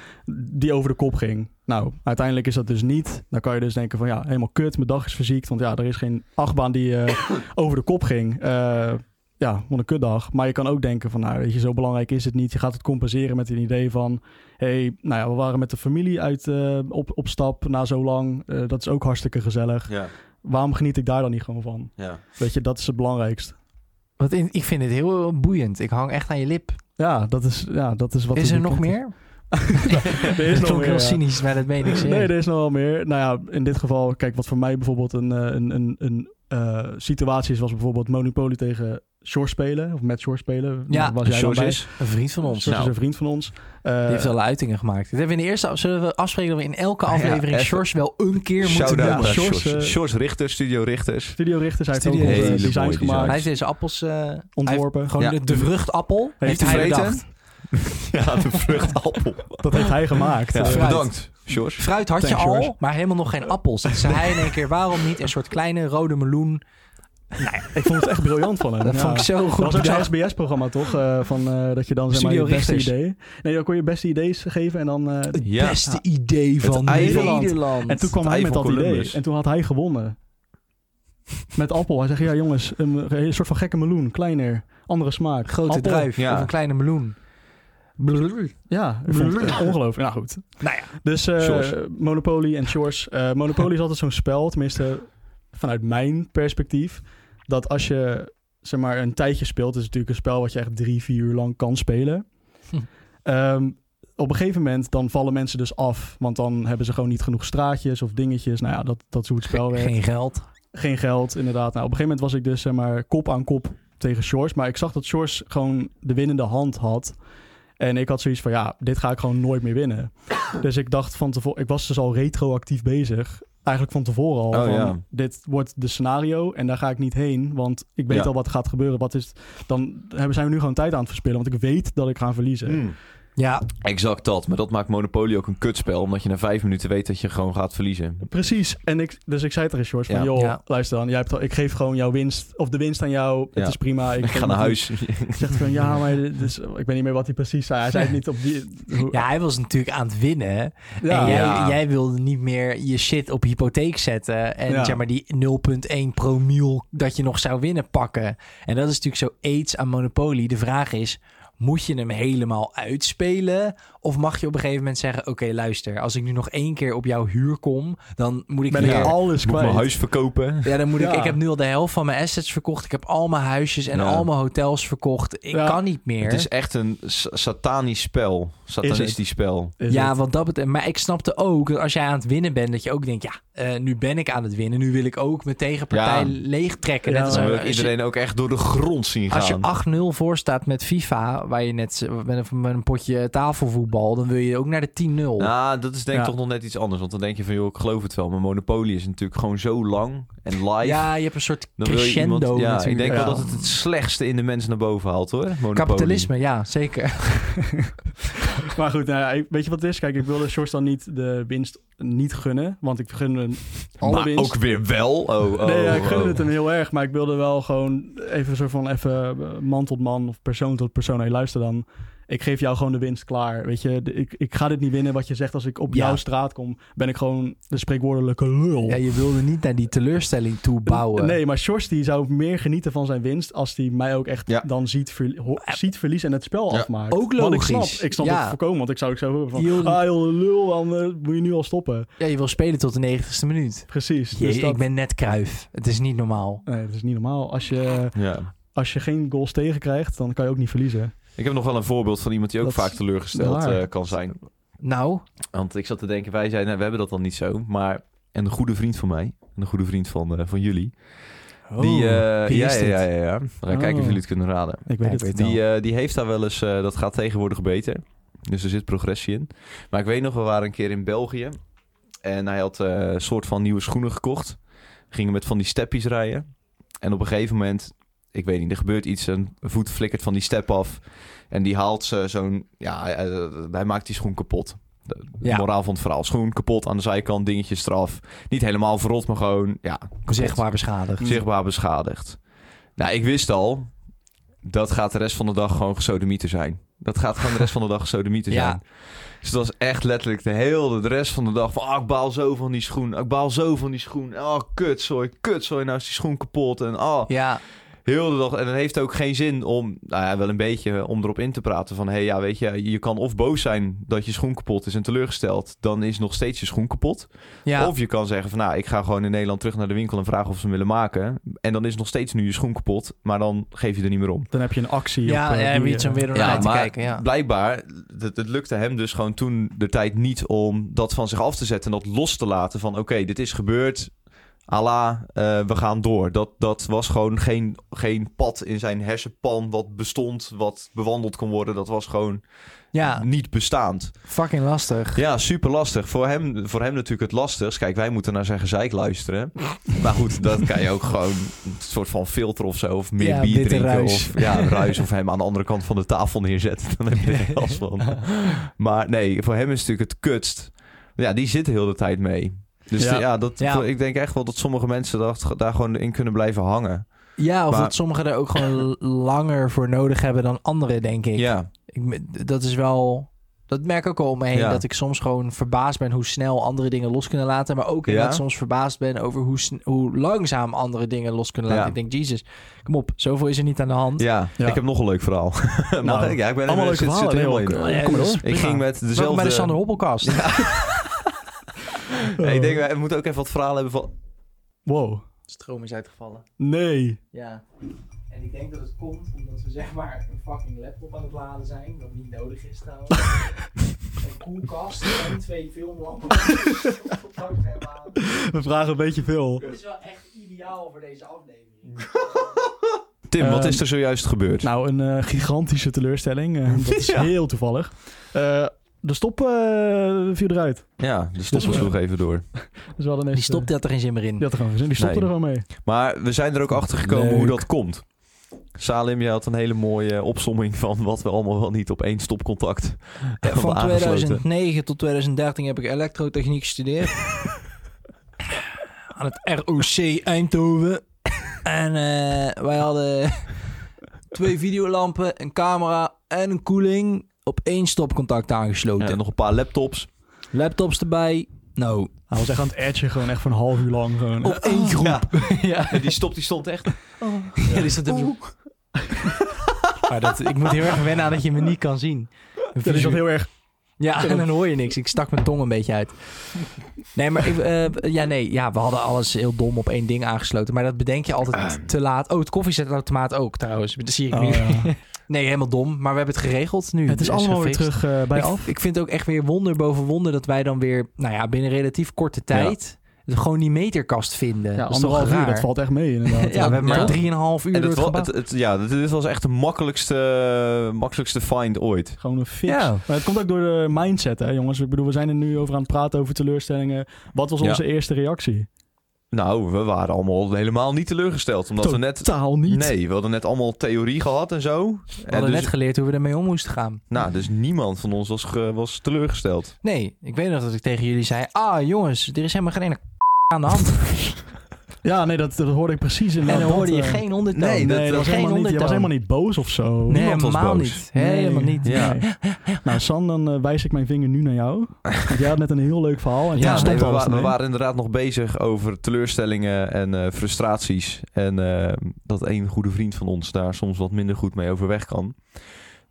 die over de kop ging. Nou, uiteindelijk is dat dus niet. Dan kan je dus denken: van ja, helemaal kut. Mijn dag is verziekt. Want ja, er is geen achtbaan die eh, over de kop ging. Eh, ja, wat een kutdag. Maar je kan ook denken van, nou weet je, zo belangrijk is het niet. Je gaat het compenseren met een idee van, hé, hey, nou ja, we waren met de familie uit eh, op, op stap na zo lang. Eh, dat is ook hartstikke gezellig. Ja, Waarom geniet ik daar dan niet gewoon van? ja. Weet je, dat is het belangrijkste. Want in- ik vind het heel boeiend. Ik hang echt aan je lip. Ja, dat is, ja, dat is wat... is het er nog bekend meer? er is dat nog klonk meer, ja. heel cynisch, maar dat meen ik Nee, zeker. er is nog wel meer. Nou ja, in dit geval, kijk, wat voor mij bijvoorbeeld een, eh, een, een, een eh, situatie is, was bijvoorbeeld Monopoly tegen Shore spelen, of met Shore spelen. Ja, was jij dan George bij? is. Een vriend van ons. George is Nou. een vriend van ons. Dus, Eh, Die heeft alle uitingen gemaakt. Dat hebben we in de eerste, zullen we afspreken dat we in elke Ah, ja, aflevering even- Shores wel een keer moeten Shout-out Ja, naar noemen. George, George. eh, George Richter, Studio Richters. Studio Richters, hij heeft ook Studio onze Richters. designs Hele mooie designs. gemaakt, Hij heeft deze appels eh, ontworpen. Gewoon Ja. de, de vruchtappel heeft, hij hij vreten? bedacht. ja, de vruchtappel. Dat heeft hij gemaakt. Ja, Eh, fruit. bedankt, George. Fruit had je Thanks, al, George. maar helemaal nog geen appels. Toen zei hij in één keer, waarom niet een soort kleine rode meloen? ik vond het echt briljant van hem. Dat Ja. vond ik zo Dat goed was ook zo'n bedacht. SBS-programma, toch? Eh, van, eh, dat je dan zeg maar, je Studio beste Richters. idee... Nee, dan kon je beste idee's geven en dan... eh, Ja. Beste idee van ei van Nederland. en toen kwam het hij ei met van dat idee. Columbus. En toen had hij gewonnen. Met appel. Hij zegt, ja jongens, een, een soort van gekke meloen. Kleiner, andere smaak. Grote Appel. druif Ja. of een kleine meloen. Blulul. Ja, ik vond het echt ongelooflijk. Nou goed. Nou ja. Dus eh, Shores. Monopoly en Shores. Eh, Monopoly is altijd zo'n spel, tenminste vanuit mijn perspectief, dat als je zeg maar een tijdje speelt, is het natuurlijk een spel wat je echt drie, vier uur lang kan spelen. Hm. Ehm, op een gegeven moment dan vallen mensen dus af, want dan hebben ze gewoon niet genoeg straatjes of dingetjes. Nou ja, dat, dat is hoe het spel werkt. Geen geld. Geen geld, inderdaad. Nou, op een gegeven moment was ik dus zeg maar kop aan kop tegen Shores. Maar ik zag dat Shores gewoon de winnende hand had. En ik had zoiets van, ja, dit ga ik gewoon nooit meer winnen. Dus ik dacht van tevoren, ik was dus al retroactief bezig. Eigenlijk van tevoren al. Oh, van, ja. Dit wordt de scenario en daar ga ik niet heen. Want ik weet Ja. al wat gaat gebeuren. Wat is, dan hebben, zijn we nu gewoon tijd aan het verspillen. Want ik weet dat ik ga verliezen. Mm. Ja, Exact dat. Maar dat maakt Monopoly ook een kutspel. Omdat je na vijf minuten weet dat je gewoon gaat verliezen. Precies. En ik, dus ik zei tegen Shores van, Ja. joh, Ja. luister dan. Jij hebt al, ik geef gewoon jouw winst, of de winst aan jou. Het Ja. is prima. Ik ga geef naar niet- huis. zegt van ja, maar dit is, ik weet niet meer wat hij precies zei. Hij zei het niet op die. hoe- ja, hij was natuurlijk aan het winnen. Ja. en jij, Ja. jij wilde niet meer je shit op hypotheek zetten. En Ja. zeg maar die 0,1 promiel dat je nog zou winnen pakken. En dat is natuurlijk zo aids aan Monopoly. De vraag is, moet je hem helemaal uitspelen? Of mag je op een gegeven moment zeggen... Oké, luister, als ik nu nog één keer op jouw huur kom... dan moet ik ben weer- ik alles Moet ik mijn kwijt. huis verkopen. Ja, dan moet ik. Ja. Ik heb nu al de helft van mijn assets verkocht. Ik heb al mijn huisjes en Ja. al mijn hotels verkocht. Ik Ja. kan niet meer. Het is echt een s- satanisch spel. Satanistisch spel. Is ja, het. Oh, want dat betekent. Maar ik snapte ook dat als jij aan het winnen bent, dat je ook denkt: ja, eh, nu ben ik aan het winnen. Nu wil ik ook mijn tegenpartij Ja. leegtrekken. Ja. Net als Dan wil ik als je- iedereen ook echt door de grond zien Als je gaan. 8-0 voor staat met FIFA, waar je net z- met een, met een potje tafelvoetbal, dan wil je ook naar de 10-0. Nou, dat is denk ik Ja. toch nog net iets anders. Want dan denk je van, joh, ik geloof het wel. Maar Monopoly is natuurlijk gewoon zo lang en live. Ja, je hebt een soort Dan wil je crescendo iemand- ja, ik natuurlijk. denk wel Ja. dat het het slechtste in de mensen naar boven haalt, hoor. Monopoly. Kapitalisme, ja, zeker. Maar goed, nou ja, ik- weet je wat het is? Kijk, ik wilde Sjors dan niet de winst niet gunnen. Want ik gun hem alle maar winst. ook weer wel. Oh, oh, nee, ja, ik gun oh. het hem heel erg. Maar ik wilde wel gewoon even een soort van even eh, man tot man of persoon tot persoon. Hé, luister dan. Ik geef jou gewoon de winst klaar. Weet je, de- ik, ik ga dit niet winnen. Wat je zegt, als ik op Ja. jouw straat kom, ben ik gewoon de spreekwoordelijke lul. Ja, je wilde niet naar die teleurstelling toe bouwen. Nee, maar Sjors die zou meer genieten van zijn winst als hij mij ook echt Ja. dan ziet, verli- ho- ziet verliezen en het spel Ja. afmaakt. Ook Want ik logisch. snap, ik snap Ja. het voorkomen, want ik zou ook zo horen van, Heel- ah joh, lul, dan eh, moet je nu al stoppen. Ja, je wil spelen tot de 90ste minuut. Precies. Jee, dus dat, ik ben net kruif. Het is niet normaal. Nee, dat is niet normaal. Als je, Ja. als je geen goals tegenkrijgt, dan kan je ook niet verliezen. Ik heb nog wel een voorbeeld van iemand die ook Dat is vaak teleurgesteld waar. eh, kan zijn. Nou, Want ik zat te denken, wij zeiden, nou, we hebben dat dan niet zo. Maar een goede vriend van mij, een goede vriend van, eh, van jullie. die, eh, wie ja, is ja, dit? ja, ja, ja. We gaan Oh. kijken of jullie het kunnen raden. Ik weet Ja, het. ik weet Die, eh, die heeft daar wel eens, eh, dat gaat tegenwoordig beter. Dus er zit progressie in. Maar ik weet nog, we waren een keer in België. En hij had eh, een soort van nieuwe schoenen gekocht. Gingen met van die steppies rijden. En op een gegeven moment, ik weet niet, er gebeurt iets. Een voet flikkert van die step af. En die haalt ze zo'n, ja, hij- hij- hij maakt die schoen kapot. De de Ja. moraal van het verhaal. Schoen kapot aan de zijkant, dingetjes eraf. Niet helemaal verrot, maar gewoon, ja, kapot Zichtbaar beschadigd. zichtbaar beschadigd. Nou, ik wist al, dat gaat de rest van de dag gewoon gesodemieter zijn. Dat gaat gewoon de rest van de dag gesodemieter Ja. zijn. Dus het was echt letterlijk de hele de rest van de dag van... ah, ik baal zo van die schoen, ik baal zo van die schoen. Oh, kutzooi, kutzooi, nou is die schoen kapot. En ah, Ja, Heel de dag. En dan heeft het ook geen zin om, nou ja, wel een beetje, om erop in te praten van... hé, hey, ja, weet je, je kan of boos zijn dat je schoen kapot is en teleurgesteld... dan is nog steeds je schoen kapot. Ja, Of je kan zeggen van, nou, ik ga gewoon in Nederland terug naar de winkel... en vragen of ze hem willen maken. En dan is nog steeds nu je schoen kapot, maar dan geef je er niet meer om. Dan heb je een actie. op, ja, eh, ja die, wie het eh, zo weer door Ja, naar te maar kijken. Ja. Blijkbaar, het, het lukte hem dus gewoon toen de tijd niet om dat van zich af te zetten en dat los te laten van oké, dit is gebeurd. Allah, we gaan door. Dat, dat was gewoon geen, geen pad in zijn hersenpan wat bestond, wat bewandeld kon worden. Dat was gewoon ja, niet bestaand. fucking lastig. Ja, super lastig. Voor hem, voor hem natuurlijk het lastigst. Kijk, wij moeten naar zijn gezeik luisteren. maar goed, dat kan je ook gewoon een soort van filter of zo. Of meer Ja, bier witte drinken. ruis. Of ja, ruis. Of hem aan de andere kant van de tafel neerzetten. Dan heb je er last van. Maar nee, voor hem is het natuurlijk het kutst. Ja, die zitten heel de tijd mee. Dus Ja. ja, dat, Ja. ik denk echt wel dat sommige mensen dat, daar gewoon in kunnen blijven hangen. Ja, of Maar- dat sommigen er ook gewoon langer voor nodig hebben dan anderen, denk ik. Ja, ik me- dat is wel. Dat merk ik ook al om me heen. Ja. Dat ik soms gewoon verbaasd ben hoe snel andere dingen los kunnen laten. Maar ook Ja. dat soms verbaasd ben over hoe, sn- hoe langzaam andere dingen los kunnen laten. Ja. Ik denk, Jesus, kom op, zoveel is er niet aan de hand. ja. Ja. ik heb nog een leuk verhaal. Mag Nou, ik? Ja, ik ben allemaal er- leuke zit- zit verhalen. er helemaal Nee, in. Welke- Ja, Kom maar dus- op. Ik ging met Welkom bij de dezelfde... Sander Hoppelkast. Nee, ik denk, we moeten ook even wat verhalen hebben van... Wow. Stroom is uitgevallen. Nee. Ja. En ik denk dat het komt omdat we zeg maar een fucking laptop aan het laden zijn. Wat niet nodig is trouwens. een koelkast en twee filmlampen. We vragen een beetje veel. is wel echt ideaal voor deze aflevering. Tim, wat Ehm, is er zojuist gebeurd? Nou, een eh, gigantische teleurstelling. Eh, dat is Ja. heel toevallig. Eh, de stop eh, viel eruit. nou, ja, de stoppen dus, eh, sloeg even door. Dus we hadden ineens, Die stopte had er geen zin meer in. eh, die had er gewoon geen zin. Die stopte Nee. er gewoon mee. Maar we zijn er ook achter gekomen hoe Leuk. dat komt. Salim, jij had een hele mooie opsomming van wat we allemaal wel niet op één stopcontact hebben Eh, Van aangesloten. 2009 tot 2013 heb ik elektrotechniek gestudeerd. Aan het ROC Eindhoven. En eh, wij hadden twee videolampen, een camera en een koeling op één stopcontact aangesloten. En nog een paar laptops. Laptops erbij. Nou, Hij was echt aan het edgen, gewoon echt voor een half uur lang. Gewoon. op één groep. Ja. Ja. En die stop die stond echt. Ja, die stond dus even zo- Maar dat, ik moet heel erg wennen aan dat je me niet kan zien. Dat is dat heel erg. Ja, en dan hoor je niks. Ik stak mijn tong een beetje uit. Nee, maar ik, eh, ja, nee, ja, we hadden alles heel dom op één ding aangesloten. Maar dat bedenk je altijd te laat. Oh, het koffiezetautomaat ook trouwens. Dat zie ik Oh, nu. ja. Nee, helemaal dom. Maar we hebben het geregeld nu. Dus Het is allemaal weer gefixt. terug eh, bij ik, af. ik vind ook echt weer wonder boven wonder dat wij dan weer, nou ja, binnen relatief korte tijd gewoon die meterkast vinden. Ja, dat is toch anderhalf uur, raar? dat valt echt mee ja, inderdaad. we hebben maar Ja. drieënhalf uur En door het, het wa- gebouw. het, het- ja, dit- dit was echt de makkelijkste, makkelijkste find ooit. Gewoon een fix. Ja. Maar het komt ook door de mindset, hè, jongens. Ik bedoel, we zijn er nu over aan het praten over teleurstellingen. Wat was Ja. onze eerste reactie? Nou, we waren allemaal helemaal niet teleurgesteld. Omdat we net. Totaal niet. Nee, we hadden net allemaal theorie gehad en zo. We En hadden dus, net geleerd hoe we ermee om moesten gaan. nou, dus niemand van ons was, ge- was teleurgesteld. Nee, ik weet nog dat ik tegen jullie zei... Ah, jongens, er is helemaal geen ene aan de hand. Ja, nee, dat, dat hoorde ik precies. eh, en dan hoorde je geen geen ondertoon. Nou, eh, nee, dat- Nee, dat, was, geen helemaal niet, je was ondertoon. helemaal niet boos of zo. Nee, Niemand was helemaal boos. niet. Helemaal niet. Ja. Nee. Nou, San, dan eh, wijs ik mijn vinger nu naar jou. Want jij had net een heel leuk verhaal. En Ja, ja, nee, stond we, alles wa- we ermee. waren inderdaad nog bezig over teleurstellingen en eh, frustraties. En eh, dat één goede vriend van ons daar soms wat minder goed mee overweg kan.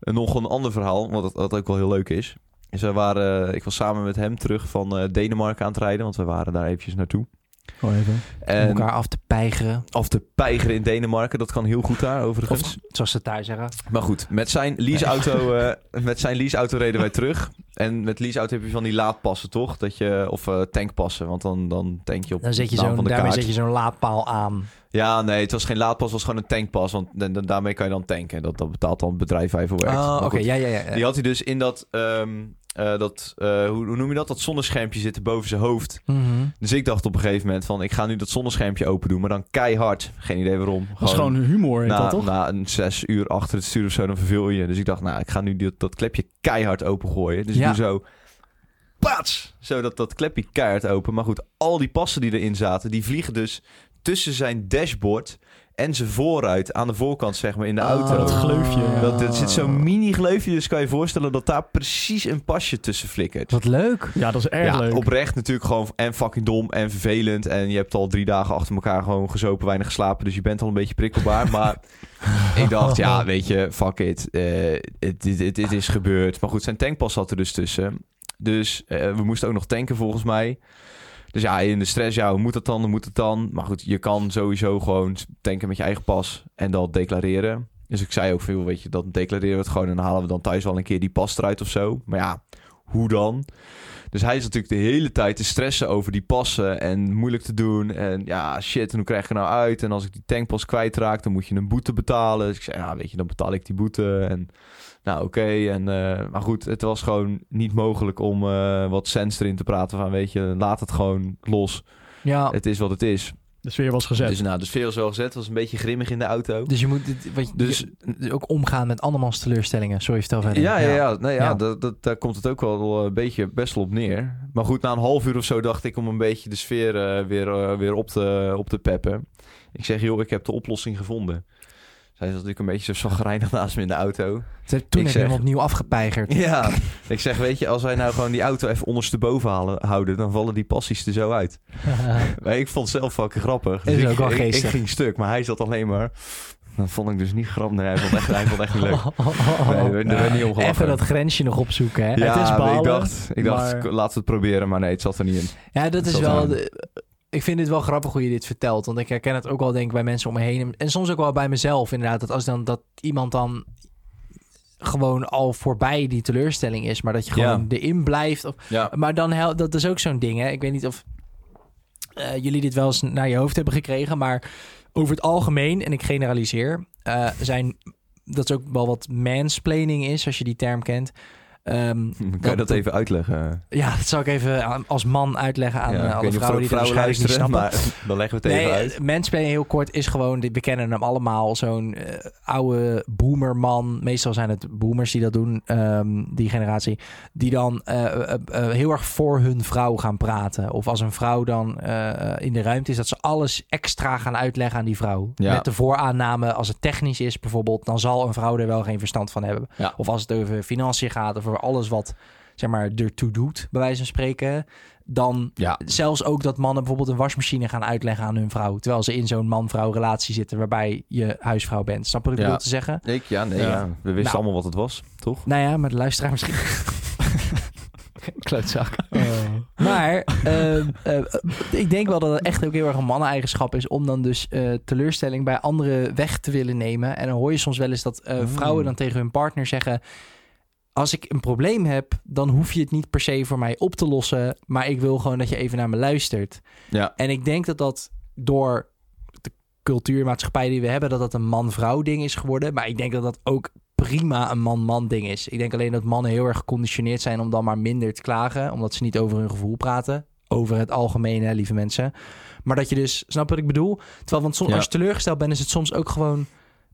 En nog een ander verhaal, wat, wat ook wel heel leuk is. Dus wij waren, ik was samen met hem terug van eh, Denemarken aan het rijden, want we waren daar eventjes naartoe. Oh, even. Om En elkaar af te peigeren. af te peigeren in Denemarken, dat kan heel goed daar overigens. Of zoals ze thuis zeggen. Maar goed, met zijn leaseauto, eh, met zijn leaseauto reden wij terug. En met leaseauto heb je van die laadpassen, toch? Dat je, of eh, tankpassen, want dan, dan tank je op Dan zet de je naam zo'n, van de daarmee kaart. zet je zo'n laadpaal aan. Ja, nee, het was geen laadpas, het was gewoon een tankpas. Want da- da- daarmee kan je dan tanken. Dat, dat betaalt dan het bedrijf waar je voor werkt. Oh, Maar oké. goed, Ja, ja, ja. Die had hij dus in dat, ehm, eh, dat eh, hoe, hoe noem je dat? Dat zonneschermpje zitten boven zijn hoofd. Mhm. Dus ik dacht op een gegeven moment van, ik ga nu dat zonneschermpje open doen. Maar dan keihard. Geen idee waarom. Dat is gewoon humor, heet na, dat toch? na een zes uur achter het stuur of zo, dan verveel je. Dus ik dacht, nou, ik ga nu dat, dat klepje keihard opengooien. Dus Ja. ik doe zo... Paats! Zo dat, dat klepje keihard open. Maar goed, al die passen die erin zaten, die vliegen dus tussen zijn dashboard en zijn vooruit aan de voorkant, zeg maar, in Oh. de auto. Ah, dat Ah. gleufje, ja. Dat, er zit zo'n mini gleufje, dus kan je voorstellen dat daar precies een pasje tussen flikkert. Wat leuk. Ja, dat is erg ja, leuk. oprecht natuurlijk gewoon en fucking dom en vervelend. En je hebt al drie dagen achter elkaar gewoon gezopen, weinig geslapen. Dus je bent al een beetje prikkelbaar. maar ik dacht, ja, weet je, fuck it. Eh, Het dit- dit- dit is gebeurd. Maar goed, zijn tankpas zat er dus tussen. Dus eh, we moesten ook nog tanken volgens mij. Dus ja, in de stress, ja, hoe moet dat dan? Hoe moet het dan? Maar goed, je kan sowieso gewoon tanken met je eigen pas en dat declareren. Dus ik zei ook veel, weet je, dan declareren we het gewoon en dan halen we dan thuis wel een keer die pas eruit of zo. Maar ja, hoe dan? Dus hij is natuurlijk de hele tijd te stressen over die passen en moeilijk te doen. En ja, shit, en hoe krijg ik er nou uit? En als ik die tankpas kwijtraak, dan moet je een boete betalen. Dus ik zei, ja, weet je, dan betaal ik die boete. En nou, oké. en, eh, maar goed, het was gewoon niet mogelijk om eh, wat sens erin te praten van, weet je, laat het gewoon los. Ja. Het is wat het is. De sfeer was gezet. Dus nou, de sfeer was wel gezet. Het was een beetje grimmig in de auto. Dus je moet dit, wat, Dus- dus, ook omgaan met andermans teleurstellingen. Sorry, vertel verder. Ja, ja, ja. Nou ja, Ja. Dat, dat, daar komt het ook wel eh, een beetje best wel op neer. Maar goed, na een half uur of zo dacht ik om een beetje de sfeer eh, weer, eh, weer op, te, op te peppen. Ik zeg, joh, ik heb de oplossing gevonden. Zij zat natuurlijk een beetje zo zagrijnig naast me in de auto. Toen heb je zeg- hem opnieuw afgepeigerd. Ja. ik zeg, weet je, als wij nou gewoon die auto even ondersteboven halen, houden, dan vallen die passies er zo uit. Maar ik vond het zelf fucking grappig. Dus Is ik, ook wel ik- ik, geestig. ging stuk, maar hij zat alleen maar... Dat vond ik dus niet grappig. Nee, hij vond het echt, hij vond het echt niet leuk. Nee, daar werd niet om gelachen. Even dat grensje nog opzoeken, hè? Ja, Het is maar ik balen, dacht, ik dacht maar- k- laten we het proberen, maar nee, het zat er niet in. Ja, dat is Zal wel. zijn. de- ik vind dit wel grappig hoe je dit vertelt. Want ik herken het ook wel, denk ik, bij mensen om me heen. En soms ook wel bij mezelf, inderdaad. Dat als dan dat iemand dan gewoon al voorbij die teleurstelling is, maar dat je Ja. gewoon erin blijft. Of, Ja. maar dan helpt dat is ook zo'n ding, hè? Ik weet niet of eh, jullie dit wel eens naar je hoofd hebben gekregen, maar over het algemeen, en ik generaliseer, eh, zijn dat is ook wel wat mansplaining is, als je die term kent. Ehm, Kan je dat even uitleggen? ja, dat zal ik even aan- als man uitleggen aan Ja, eh, ik alle weet niet of vrouwen er ook die dat waarschijnlijk niet snappen. maar dan leggen we het even Nee, uit. eh, mansplaining heel kort is gewoon, we kennen hem allemaal, zo'n eh, oude boomerman. Meestal zijn het boomers die dat doen, ehm, die generatie. Die dan eh, eh, eh, heel erg voor hun vrouw gaan praten. Of als een vrouw dan eh, eh, in de ruimte is, dat ze alles extra gaan uitleggen aan die vrouw. Ja. Met de vooraanname, als het technisch is bijvoorbeeld, dan zal een vrouw er wel geen verstand van hebben. Ja. Of als het over financiën gaat, of over alles wat zeg maar ertoe doet, bij wijze van spreken, dan Ja, zelfs ook dat mannen bijvoorbeeld een wasmachine gaan uitleggen aan hun vrouw. Terwijl ze in zo'n man-vrouw relatie zitten waarbij je huisvrouw bent. Snap je wat ik Ja. bedoel te zeggen? ik, ja, nee, ja. Ja. we wisten Nou. allemaal wat het was, toch? Nou ja, maar de luisteraar misschien. Klootzak. Eh, Maar ehm, eh, ik denk wel dat het echt ook heel erg een manneneigenschap is om dan dus eh, teleurstelling bij anderen weg te willen nemen. En dan hoor je soms wel eens dat eh, Mm. vrouwen dan tegen hun partner zeggen. Als ik een probleem heb, dan hoef je het niet per se voor mij op te lossen. Maar ik wil gewoon dat je even naar me luistert. Ja, En ik denk dat dat door de cultuurmaatschappij die we hebben, dat dat een man-vrouw ding is geworden. Maar ik denk dat dat ook prima een man-man ding is. Ik denk alleen dat mannen heel erg geconditioneerd zijn om dan maar minder te klagen, omdat ze niet over hun gevoel praten. Over het algemeen, hè, lieve mensen. Maar dat je dus, snap wat ik bedoel? Terwijl, want soms, Ja. als je teleurgesteld bent, is het soms ook gewoon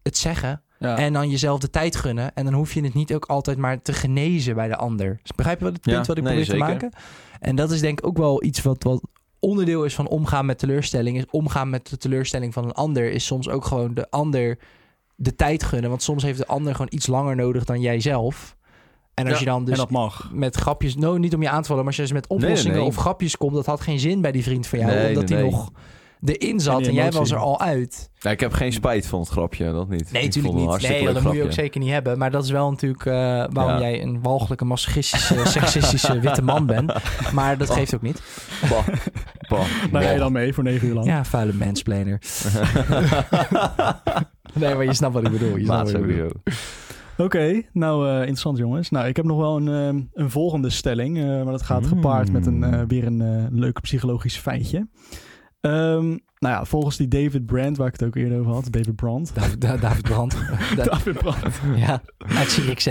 het zeggen. ja. En dan jezelf de tijd gunnen. En dan hoef je het niet ook altijd maar te genezen bij de ander. Dus Begrijp je wat het Ja, punt wat ik nee, probeer te zeker. maken? En dat is denk ik ook wel iets wat, wat onderdeel is van omgaan met teleurstelling. Is omgaan met de teleurstelling van een ander. Is soms ook gewoon de ander de tijd gunnen. Want soms heeft de ander gewoon iets langer nodig dan jijzelf. En als Ja, je dan en dus dat mag. met grapjes... No, niet om je aan te vallen. Maar als je dus met nee, oplossingen nee. of grapjes komt... Dat had geen zin bij die vriend van jou. Nee, omdat nee, hij nee. nog erin zat. En En, die jij emotie. was er al uit. Ja, Nou, ik heb geen spijt van het grapje, dat niet. Nee, Ik natuurlijk vond het niet. een hartstikke Nee, dat leuk moet je ook grapje. zeker niet hebben. Maar dat is wel natuurlijk eh, waarom Ja. jij een walgelijke, masochistische, seksistische witte man bent. Maar dat geeft ook niet. Bah, bah, Daar ga je bah. dan mee voor negen uur lang. Ja, vuile mansplainer. nee, maar je snapt wat ik bedoel. Je snapt Maat wat ik bedoel. sowieso. Oké, nou eh, interessant jongens. Nou, ik heb nog wel een, ehm, een volgende stelling. eh, maar dat gaat Mm. gepaard met een, eh, weer een eh, leuk psychologisch feitje. Ehm, nou ja, volgens die David Brand, waar ik het ook eerder over had. David Brand. David, Da- David Brand. Da- David Brand. ja, uit CXC.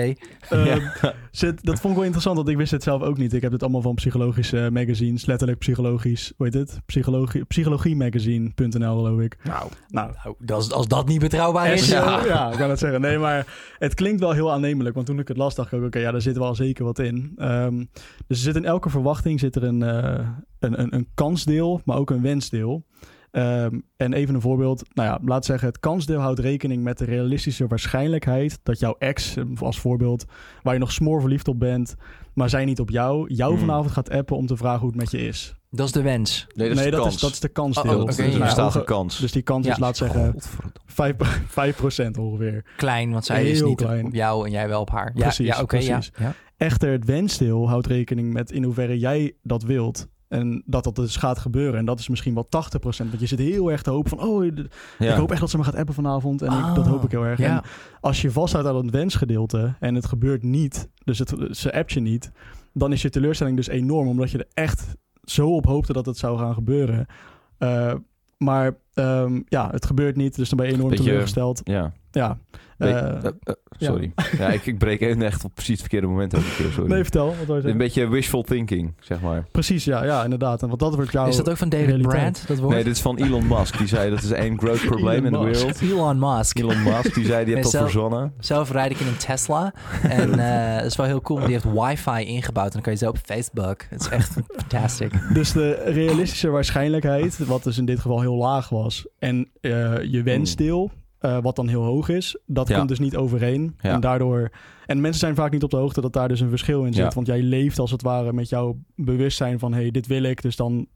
Ehm, Ja. zit, dat vond ik wel interessant, want ik wist het zelf ook niet. Ik heb dit allemaal van psychologische eh, magazines, letterlijk psychologisch, hoe heet het? Psychologie, psychologiemagazine.nl geloof ik. Nou, Nou, nou dat is- als dat niet betrouwbaar is. eh, ja. ja, ik kan het zeggen. Nee, maar het klinkt wel heel aannemelijk. Want toen ik het las, dacht ik ook, oké, ja, daar zit wel zeker wat in. Ehm, dus er zit in elke verwachting zit er een, eh, een, een, een kansdeel, maar ook een wensdeel. Ehm, en even een voorbeeld. Nou ja, laat zeggen, het kansdeel houdt rekening met de realistische waarschijnlijkheid dat jouw ex, eh, als voorbeeld, waar je nog smoor verliefd op bent, maar zij niet op jou, jou Hmm. vanavond gaat appen om te vragen hoe het met je is. Dat is de wens. Nee, dat is de dat, kans. is, dat is de Oh, kansdeel. oh, oké, Dus er ja. bestaat hoge- een kans. dus die kans is, Ja. laat zeggen, Godverdomme. 5, 5% ongeveer. Klein, want zij is Heel niet klein. op jou en jij wel op haar. Ja, Precies, ja oké. ja. precies. Ja. Echter, het wensdeel houdt rekening met in hoeverre jij dat wilt. En dat dat dus gaat gebeuren. En dat is misschien wel 80%. Want je zit heel erg te hopen van... Oh, d- Ja. ik hoop echt dat ze me gaat appen vanavond. En ik, dat Ah, hoop ik heel erg. ja. En als je vasthoudt aan het wensgedeelte... en het gebeurt niet, dus het, ze appt je niet... dan is je teleurstelling dus enorm. Omdat je er echt zo op hoopte dat het zou gaan gebeuren. Eh, maar ehm, ja, het gebeurt niet. Dus dan ben je enorm Dat je- teleurgesteld. Ja. Ja. Nee, Eh, eh, eh, sorry. Ja, ik, ik breek even echt op precies het verkeerde moment elke keer. Sorry. nee, vertel. Wat wou je zeggen? een beetje wishful thinking, zeg maar. Precies, ja, ja, inderdaad. En want dat wordt jouw... Is dat ook van David realiteit. Brandt, dat woord? Nee, dit is van Elon Musk. Die zei dat is één groot probleem in de Elon Musk. wereld. Elon Musk. Elon Musk, die zei die heeft dat Mensen- verzonnen. Zelf rijd ik in een Tesla. En eh, dat is wel heel cool, want die heeft wifi ingebouwd. En dan kan je zo op Facebook. Het is echt fantastic. Dus de realistische waarschijnlijkheid, wat dus in dit geval heel laag was, en eh, je wensdeel, eh, wat dan heel hoog is, dat Hmm. Ja. komt dus niet overeen. Ja. En daardoor... En mensen zijn vaak niet op de hoogte dat daar dus een verschil in zit. Ja. Want jij leeft als het ware met jouw bewustzijn van, hé, hey, dit wil ik, dus dan...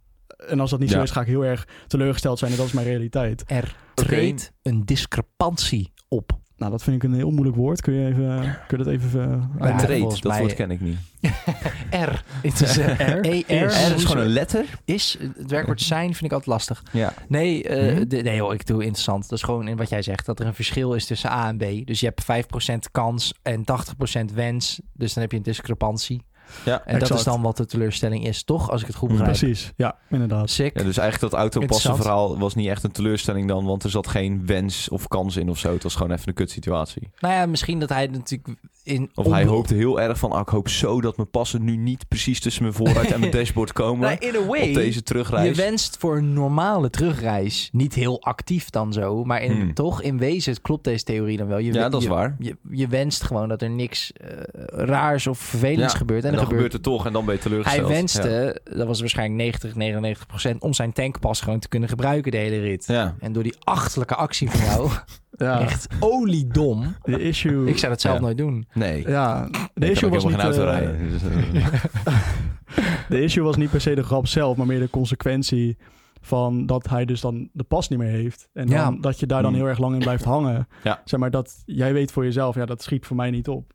En als dat niet zo Ja. is, ga ik heel erg teleurgesteld zijn en dat is mijn realiteit. Er treedt een discrepantie op. Nou, dat vind ik een heel moeilijk woord. Kun je, even, kun je dat even... eh, Hij Ja, uitleggen? treedt, volgens dat mij- woord ken ik niet. R. Het is eh, R? E-R. Er is gewoon een letter. Is, het werkwoord zijn vind ik altijd lastig. Ja. Nee, eh, Hm? de- nee hoor, ik doe interessant. Dat is gewoon in wat jij zegt, dat er een verschil is tussen A en B. Dus je hebt 5% kans en 80% wens. Dus dan heb je een discrepantie. Ja, en dat exact. is dan wat de teleurstelling is, toch? Als ik het goed Hm. begrijp. Precies, ja, inderdaad. Sick. Ja, dus eigenlijk dat autopassen Interessant. verhaal was niet echt een teleurstelling dan, want er zat geen wens of kans in of zo. Het was gewoon even een kutsituatie. Nou ja, misschien dat hij natuurlijk in... Of hij onbe- hoopte heel erg van, ah, ik hoop zo dat mijn passen nu niet precies tussen mijn voorruit en mijn dashboard komen Nou, in a way, op deze je terugreis. wenst voor een normale terugreis. Niet heel actief dan zo, maar in, Hmm. toch in wezen klopt deze theorie dan wel. Je, ja, dat is je- waar. Je, je wenst gewoon dat er niks eh, raars of vervelends Ja, gebeurt. En, En dan er gebeurt gebeurt... het toch en dan ben je Hij teleurgesteld. Ja. wenste, dat was waarschijnlijk 90, 99 procent, om zijn tankpas gewoon te kunnen gebruiken de hele rit. Ja. En door die achterlijke actie van jou, Ja, echt oliedom. de issue... Ik zou dat zelf Ja. nooit doen. Nee. Ja, de ik kan issue ook was niet... helemaal geen auto eh, rijden. Dus, eh, De issue was niet per se de grap zelf, maar meer de consequentie van dat hij dus dan de pas niet meer heeft. En dan, Ja. dat je daar dan Hmm. heel erg lang in blijft hangen. Ja. Zeg maar dat jij weet voor jezelf, ja, dat schiet voor mij niet op.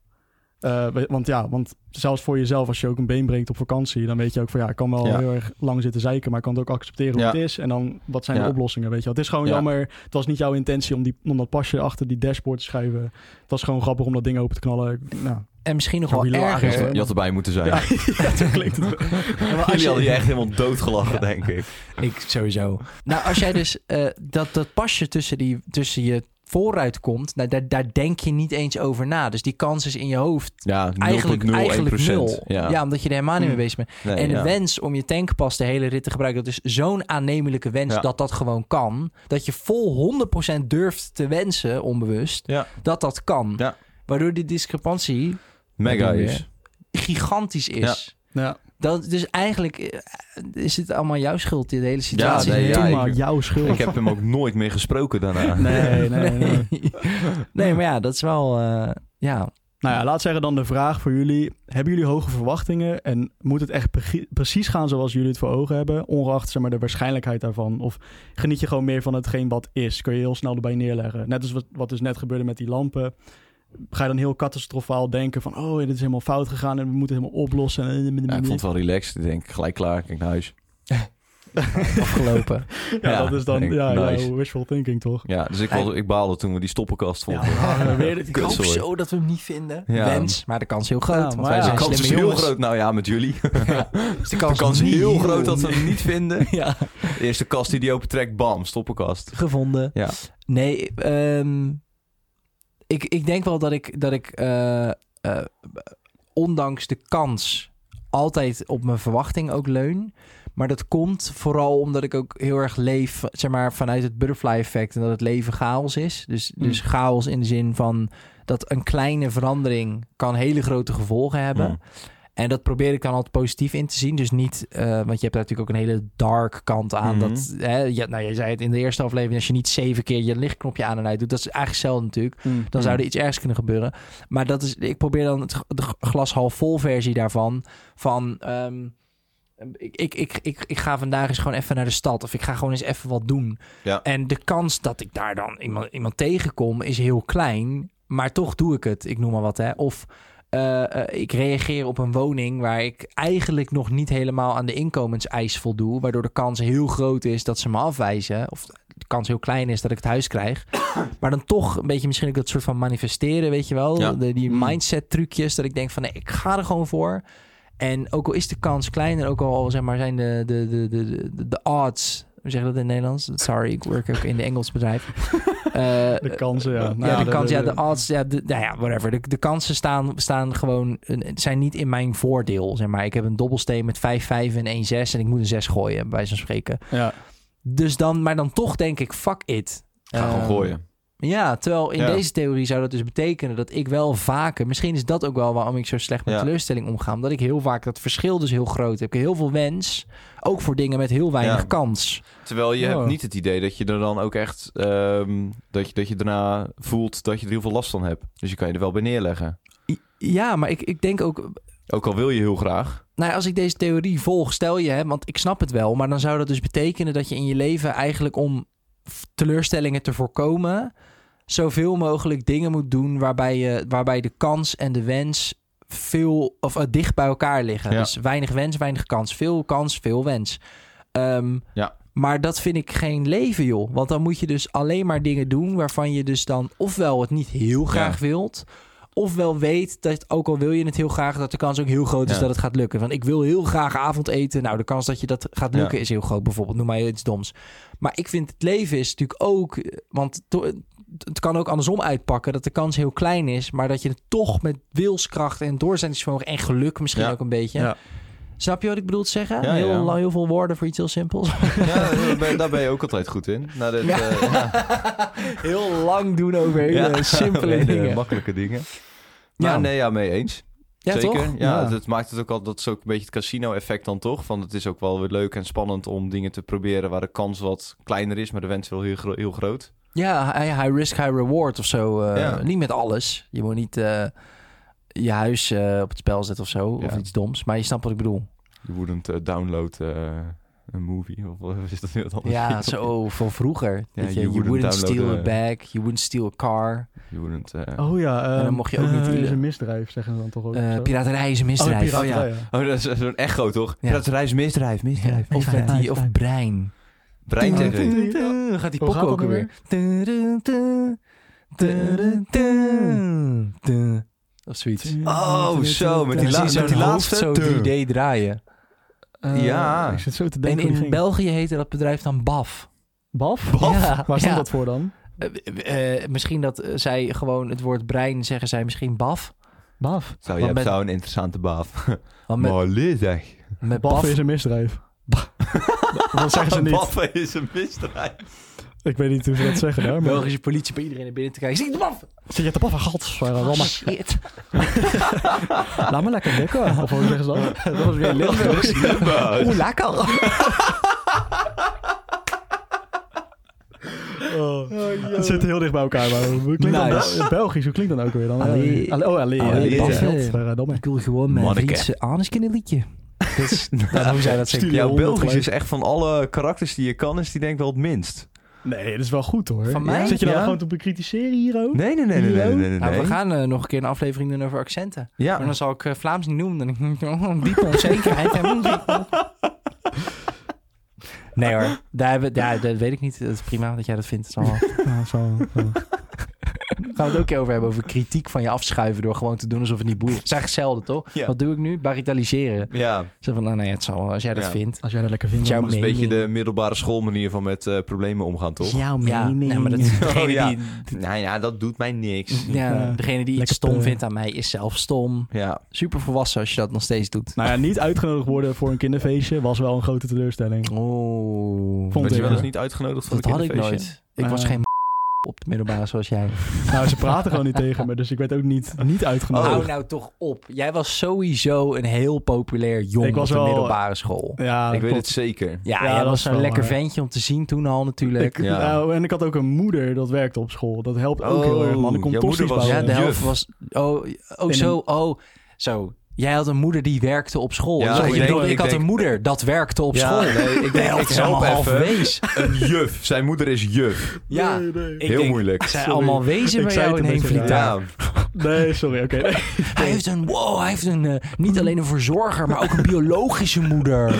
Eh, we- want ja, want zelfs voor jezelf, als je ook een been breekt op vakantie, dan weet je ook van ja, ik kan wel Ja. heel erg lang zitten zeiken, maar ik kan het ook accepteren hoe Ja. het is. En dan wat zijn Ja. de oplossingen, weet je wel. Het is gewoon Ja. jammer, het was niet jouw intentie om, die, om dat pasje achter die dashboard te schrijven. Het was gewoon grappig om dat ding open te knallen. Nou, En misschien nog Zo wel hilarisch, erger. hoor. je had erbij moeten zijn. ja, ja, toen klinkt het. wel. Ja, maar als Jullie je- hadden je echt helemaal doodgelachen, Ja. denk ik. Ik sowieso. Nou, als jij dus eh, dat, dat pasje tussen, die, tussen je vooruit komt, nou, daar, daar denk je niet eens over na. Dus die kans is in je hoofd Ja, 0,01%. eigenlijk, eigenlijk nul. Ja. Ja. omdat je er helemaal niet mee Mm. bezig bent. Nee, en de Eh, ja. wens om je tankpas de hele rit te gebruiken, dat is zo'n aannemelijke wens Ja. dat dat gewoon kan. Dat je vol 100% durft te wensen, onbewust, Ja. dat dat kan. Ja. Waardoor die discrepantie Mega Dat doen we, is. gigantisch is. Ja. Dat, dus eigenlijk eh, is het allemaal jouw schuld, die hele situatie. nee, ja, Doe ik- maar jouw schuld. Ik heb hem ook nooit meer gesproken daarna. Nee, nee, nee. Nee, maar ja, dat is wel. eh, ja. Nou ja, laat zeggen dan de vraag voor jullie. Hebben jullie hoge verwachtingen en moet het echt pre- precies gaan zoals jullie het voor ogen hebben? Ongeacht zeg maar, de waarschijnlijkheid daarvan. Of geniet je gewoon meer van hetgeen wat is? Kun je heel snel erbij neerleggen. Net als wat, wat dus net gebeurde met die lampen. Ga je dan heel catastrofaal denken van... oh, dit is helemaal fout gegaan en we moeten het helemaal oplossen. Ja, ik vond het wel relaxed. Ik denk, gelijk klaar, ik naar huis. Afgelopen. ja, ja, dat is dan denk ik, ja, ja, nice. wishful thinking, toch? Ja, dus ik, was, ik baalde toen we die stoppenkast Ja, vonden. weer dit. ik hoop Kutzooi. zo dat we hem niet vinden. Ja. Wens, maar de kans is heel groot. Ja, want maar wij ja, de zijn kans is slimme heel jongens. groot. Nou ja, met jullie. Ja. Dus de kans, De kans is niet heel groot dat we hem niet vinden. Ja, De eerste kast die die opentrekt, bam, stoppenkast. gevonden. Ja. Nee, ehm, ik, ik denk wel dat ik, dat ik eh, eh, ondanks de kans altijd op mijn verwachting ook leun. Maar dat komt vooral omdat ik ook heel erg leef, zeg maar, vanuit het butterfly effect. En dat het leven chaos is. Dus, dus chaos in de zin van dat een kleine verandering kan hele grote gevolgen hebben. Mm. En dat probeer ik dan altijd positief in te zien. Dus niet, eh, want je hebt daar natuurlijk ook een hele dark kant aan. Mhm. dat, hè, je, nou, je zei het in de eerste aflevering, als je niet zeven keer je lichtknopje aan en uit doet, dat is eigenlijk zelden natuurlijk. Hmm. Dan zou er iets ergs kunnen gebeuren. Maar dat is, ik probeer dan het, g- de g- glas half vol versie daarvan. Van, ehm, ik, ik, ik, ik, ik ga vandaag eens gewoon even naar de stad. Of ik ga gewoon eens even wat doen. Ja. En de kans dat ik daar dan iemand, iemand tegenkom is heel klein. Maar toch doe ik het. Ik noem maar wat. Hè. Of eh, eh, ik reageer op een woning waar ik eigenlijk nog niet helemaal aan de inkomenseis voldoe. Waardoor de kans heel groot is dat ze me afwijzen. Of de kans heel klein is dat ik het huis krijg. maar dan toch een beetje misschien ook dat soort van manifesteren, weet je wel. Ja. De, die Mm. mindset trucjes. Dat ik denk van nee, ik ga er gewoon voor. En ook al is de kans klein en ook al zeg maar, zijn de, de, de, de, de, de odds. Hoe zeg je dat in het Nederlands? Sorry, ik werk ook in de Engels bedrijf. Eh, De kansen, ja. Nou ja, de, kans, ja, de- de odds, ja, de, nou ja, whatever. De, de kansen staan, staan gewoon, eh, zijn niet in mijn voordeel, zeg maar. Ik heb een dobbelsteen met 5, 5 en 1, 6 en ik moet een 6 gooien, bij zo'n spreken. ja. Dus dan, maar dan toch denk ik, fuck it. Ga gewoon Ehm, gooien. Ja, terwijl in Ja. deze theorie zou dat dus betekenen dat ik wel vaker, misschien is dat ook wel waarom ik zo slecht met Ja. teleurstelling omga, omdat ik heel vaak dat verschil dus heel groot heb. Ik heb heel veel wens, ook voor dingen met heel weinig Ja. kans. Terwijl je Oh. hebt niet het idee dat je er dan ook echt... ehm, dat, je, dat je daarna voelt dat je er heel veel last van hebt. Dus je kan je er wel bij neerleggen. I- Ja, maar ik, ik denk ook, Ook al wil je heel graag. Nou, ja, als ik deze theorie volg, stel je, hè, want ik snap het wel, maar dan zou dat dus betekenen dat je in je leven eigenlijk om f- teleurstellingen te voorkomen, zoveel mogelijk dingen moet doen waarbij, je, waarbij de kans en de wens veel of eh, dicht bij elkaar liggen. Ja. Dus weinig wens, weinig kans. Veel kans, veel wens. Ehm, Ja. Maar dat vind ik geen leven, joh. Want dan moet je dus alleen maar dingen doen waarvan je dus dan ofwel het niet heel graag wilt, ofwel weet dat ook al wil je het heel graag, dat de kans ook heel groot is Ja. dat het gaat lukken. Want ik wil heel graag avondeten. Nou, de kans dat je dat gaat lukken is heel groot, bijvoorbeeld. Noem maar iets doms. Maar ik vind het leven is natuurlijk ook, eh, want to- het kan ook andersom uitpakken dat de kans heel klein is, maar dat je het toch met wilskracht en doorzettingsvermogen en geluk misschien Ja. ook een beetje. Ja. Snap je wat ik bedoel te zeggen? Ja, heel, ja. lang- heel veel woorden voor iets heel simpels. ja, daar ben, daar ben je ook altijd goed in. Na dit, Ja. eh, ja. heel lang doen over hele Ja. simpele Hele dingen. makkelijke dingen. Maar Ja. nee, ja, mee eens. ja, Zeker. toch? Ja, Ja. dat maakt het ook al. Dat is ook een beetje het casino-effect dan toch? Van het is ook wel weer leuk en spannend om dingen te proberen waar de kans wat kleiner is, maar de wens wel heel, gro- heel groot. Ja, hi- high risk, high reward of zo. eh, Ja. Niet met alles. Je moet niet eh, je huis eh, op het spel zetten of zo. Of Ja. iets doms. Maar je snapt wat ik bedoel. Je wouldn't eh, download eh, een movie of wat is dat heel wat anders? Ja, zo oh, van vroeger. Ja, Weet je, you you, wouldn't wouldn't, steal a download, bag. You wouldn't steal a car. Je wouldn't. eh, Oh ja. dan ehm, mocht je ook niet eh, wielen. is een misdrijf, zeggen ze dan toch ook. of Eh, zo? piraterij is een misdrijf. Oh, piraterij, ja. ja. Oh, dat is eh, zo'n echo toch? Ja. Ja. Dat reis misdrijf, misdrijf. Of, met die, of Misdrijf. brein. Brein Ding, TV. ding, Tum, tum, tum. Gaat die Hoe pokken gaat ook dat weer. Tum, tum, tum, tum, tum. Of zoiets. Oh, zo, met die, Dan la zie je met zo'n die hoofd laatste. zo Tum. 3D draaien. Eh, Ja. Ik zit zo te En denken. hoe die in ging. België heette dat bedrijf dan BAF. Baf? Ja, Waar stond ja. dat voor dan? Eh, eh, misschien dat eh, zij gewoon het woord brein zeggen, zij misschien BAF. Baf. Zo, je Want hebt met- zo een interessante baaf. Want met, Maar leer zeg. met Baf BAF, is een misdrijf. Dat zeggen ze niet. Baffen is een misdrijf. Ik weet niet hoe ze dat zeggen daar. Maar... Belgische politie bij iedereen naar binnen te kijken. Zie je de BAF? Zit je te Ah, paffen? Gats. Oh, Laat shit. me lekker lekker. Of hoe zeggen ze dat? Dat was weer Limburgs. Oeh, lekker. Oh. Het zit heel dicht bij elkaar. Maar hoe klinkt dan Nice. Bel- Belgisch, hoe klinkt dat ook weer dan? Allee. Allee, Oh, allee. Allee, allee, baffen. baffen. Verdomme. Ik wil gewoon mijn Manneke. Rietse anus kunnen liedje. Dat is, nou, hoe zij dat zeggen. Studio Ja, 100 Belgisch gelijk. is echt van alle karakters die je kan, is die denk ik wel het minst. Nee, dat is wel goed hoor. Van mij? Zit je dan Ja. gewoon te bekritiseren hier ook? Nee, nee, nee, nee, nee, nee, nee, Nou, we nee. gaan eh, nog een keer een aflevering doen over accenten. Maar Ja, dan zal ik eh, Vlaams niet noemen. Dan denk ik, oh, diepe onzekerheid. nee hoor, daar hebben, ja, dat weet ik niet. Dat is prima dat jij dat vindt. Dat is allemaal- Ja, zo. zo. Gaan we het ook een keer over hebben, over kritiek van je afschuiven... door gewoon te doen alsof het niet boeit. Dat is eigenlijk hetzelfde, toch? Ja. Wat doe ik nu? Baritaliseren. ja. Zo van, nou nee, het zal wel, als jij dat Ja. vindt. Als jij dat lekker vindt. Jouw dan- dat is een mening. beetje de middelbare schoolmanier van met eh, problemen omgaan, toch? Ja. Jouw Ja, nee, maar dat is degene Oh, ja. die... Nou ja, dat doet mij niks. Ja, Ja. degene die iets Lekker stom peulen. vindt aan mij is zelf stom. Ja, Super volwassen als je dat nog steeds doet. Nou ja, niet uitgenodigd worden voor een kinderfeestje was wel een grote teleurstelling. Oh, Vond werd je ik. wel eens niet uitgenodigd voor dat een had ik kinderfeestje? nooit. Ik was Eh. geen op de middelbare zoals jij. Nou, ze praten gewoon niet tegen me, dus ik werd ook niet, niet uitgenodigd. Oh, Hou nou toch op. Jij was sowieso een heel populair jong Ik was op de wel- middelbare school. Ja, nou, ik dat weet klopt. het zeker. Ja, Ja, jij dat was is een wel lekker waar. ventje om te zien toen al natuurlijk. Ik- Ja. nou, en ik had ook een moeder dat werkte op school. Dat helpt ook Oh, heel erg, man. Ik kon jouw tosti's moeder was- ja, bouwen. de juf. helft was... Oh, oh een- zo, oh, zo. Jij had een moeder die werkte op school. Ja, Dus ik je denk- bedoelt, ik, ik had denk- een moeder dat werkte op Ja, school. nee, ik de denk, helft ik is help allemaal half even. wees. Een juf. Zijn moeder is juf. Ja, Nee, nee. Heel denk- moeilijk. zijn Sorry. allemaal wezen Ik bij zei jou in het een heen beetje vliegtuig. Ja. Nee, sorry, oké. nee. Hij heeft een, wow, hij heeft een, eh, niet alleen een verzorger, maar ook een biologische moeder.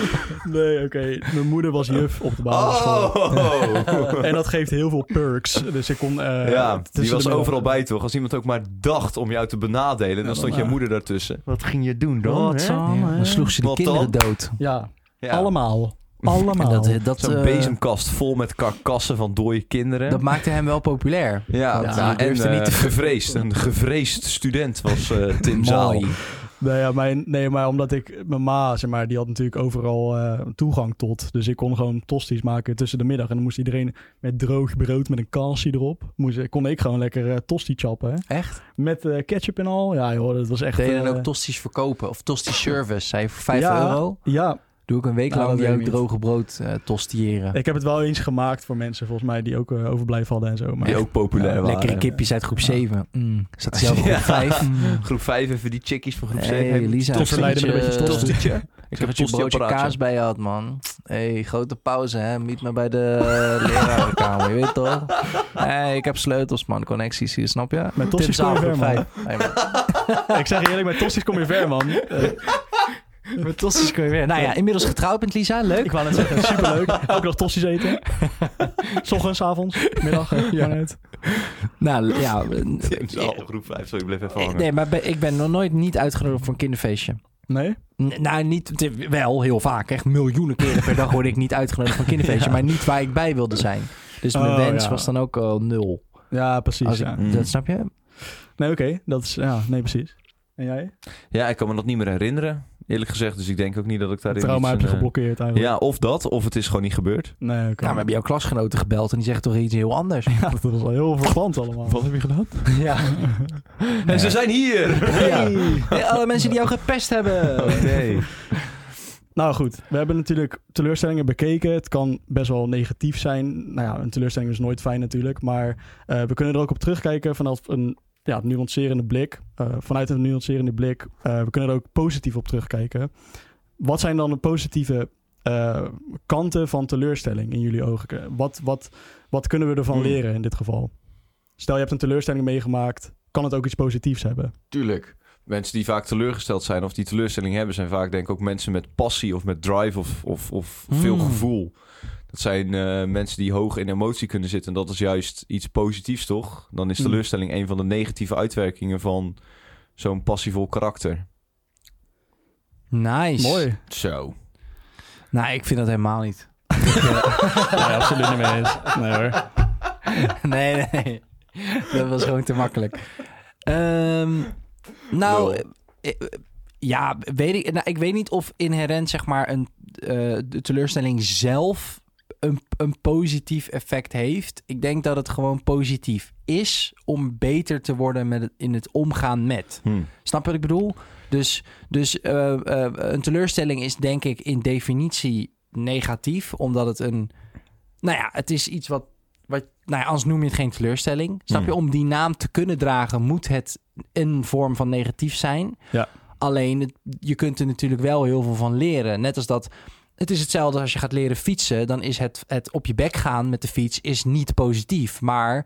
Nee, oké. Mijn moeder was juf op de basisschool. Oh. En dat geeft heel veel perks. Dus ik kon... eh, ja, tussen die de was middag- overal bij toch? Als iemand ook maar dacht om jou te benadelen, dan dan stond je maar. moeder daartussen. Wat ging je doen Ja, dan sloeg ze de Wat kinderen dan? dood. Ja, Ja. allemaal. Allemaal. En dat, eh, dat, Zo'n eh, bezemkast vol met karkassen van dode kinderen. dat maakte hem wel populair. ja, Ja, nou, die en durfde eh, niet te- gevreesd. Een gevreesd student was eh, Tim Zaal. Mooi. Nee, Nou ja, mijn, nee, maar omdat ik... Mijn ma, zeg maar, die had natuurlijk overal eh, toegang tot. Dus ik kon gewoon tosti's maken tussen de middag. En dan moest iedereen met droog brood met een kansie erop. Moest, kon ik gewoon lekker eh, tosti chappen. hè. Echt? Met eh, ketchup en al. Ja joh, dat was echt... Deed je dan eh, ook tosties verkopen? Of tosti service? Zei je voor 5 Ja. euro? Ja, Doe ik een week Nou, lang dat weet jou ik niet. droge brood eh tostiëren. ik heb het wel eens gemaakt voor mensen volgens mij die ook eh, overblijven hadden en zo. Maar Die ook populair Ja, waren. lekkere kipjes uit groep 7. Mm. Zat zelf op Ja. groep 5. Groep 5 even die chickies van groep 7. Hey, Lisa. tosti- verleiden met een beetje eh, tosti. Ik heb dat je een Tosti broodje apparaatje. kaas bij je had, man. hey, grote pauze, hè. Meet me bij de eh, lerarenkamer, je weet toch? hey, ik heb sleutels, man. Connecties hier, snap je? Met tosti's kom je ver, man. Hey, man. ik zeg je eerlijk, met tosti's kom je ver, man. Eh, Met tosti's kun je weer. Nou ja, inmiddels getrouwd met Lisa. ik Leuk. wou net zeggen, superleuk. Elke dag tosti's eten. 's ochtends, 's avonds, middag, eh, ja. uit. Nou, ja. Tim Zaal, groep 5. Sorry, ik bleef even hangen. Nee, maar ben- ik ben nog nooit niet uitgenodigd voor een kinderfeestje. Nee? N- Nou, niet, wel heel vaak. Echt miljoenen keren per dag word ik niet uitgenodigd voor een kinderfeestje. Maar niet waar ik bij wilde zijn. Dus mijn Oh, wens ja. was dan ook al nul. Ja, precies. Als ik, ja. Mm. Dat snap je? Nee, oké. Dat is, ja, nee, precies. En jij? Ja, ik kan me dat niet meer herinneren. Eerlijk gezegd. Dus ik denk ook niet dat ik daarin... Trauma iets heb je een, eh, geblokkeerd eigenlijk. Ja, of dat. Of het is gewoon niet gebeurd. Nee, oké. Nou, we hebben jouw klasgenoten gebeld en die zeggen toch iets heel anders. Ja, dat was wel heel verpand allemaal. heb je gedaan? Ja. En ze zijn hier! alle mensen die jou gepest hebben. Oh, nee. Nou goed, we hebben natuurlijk teleurstellingen bekeken. Het kan best wel negatief zijn. Nou ja, een teleurstelling is nooit fijn natuurlijk. Maar eh, we kunnen er ook op terugkijken vanaf een ja, nuancerende blik. Eh, vanuit een nuancerende blik. eh, we kunnen er ook positief op terugkijken. Wat zijn dan de positieve eh, kanten van teleurstelling in jullie ogen? Wat, wat, wat kunnen we ervan Hmm. leren in dit geval? Stel, je hebt een teleurstelling meegemaakt. Kan het ook iets positiefs hebben? Tuurlijk. Mensen die vaak teleurgesteld zijn of die teleurstelling hebben, zijn vaak denk ik ook mensen met passie of met drive of, of, of Mm. veel gevoel. Dat zijn eh, mensen die hoog in emotie kunnen zitten. En dat is juist iets positiefs, toch? Dan is Mm. teleurstelling een van de negatieve uitwerkingen van zo'n passievol karakter. Nice. Mooi. Zo. Nou, ik vind dat helemaal niet. Nee, absoluut niet mee eens. Nee hoor. nee, nee. Dat was gewoon te makkelijk. Ehm, Lul. nou, eh, eh, ja, weet ik, nou, ik weet niet of inherent zeg maar een, eh, de teleurstelling zelf een, een positief effect heeft. Ik denk dat het gewoon positief is om beter te worden met het, in het omgaan met. Hm. Snap je wat ik bedoel? Dus, dus eh, eh, een teleurstelling is denk ik in definitie negatief, omdat het een... Nou ja, het is iets wat... wat nou ja, anders noem je het geen teleurstelling. Snap je? Hmm. Om die naam te kunnen dragen moet het een vorm van negatief zijn. Ja. Alleen, het- je kunt er natuurlijk wel heel veel van leren. Net als dat... Het is hetzelfde als je gaat leren fietsen. Dan is het, het op je bek gaan met de fiets is niet positief. Maar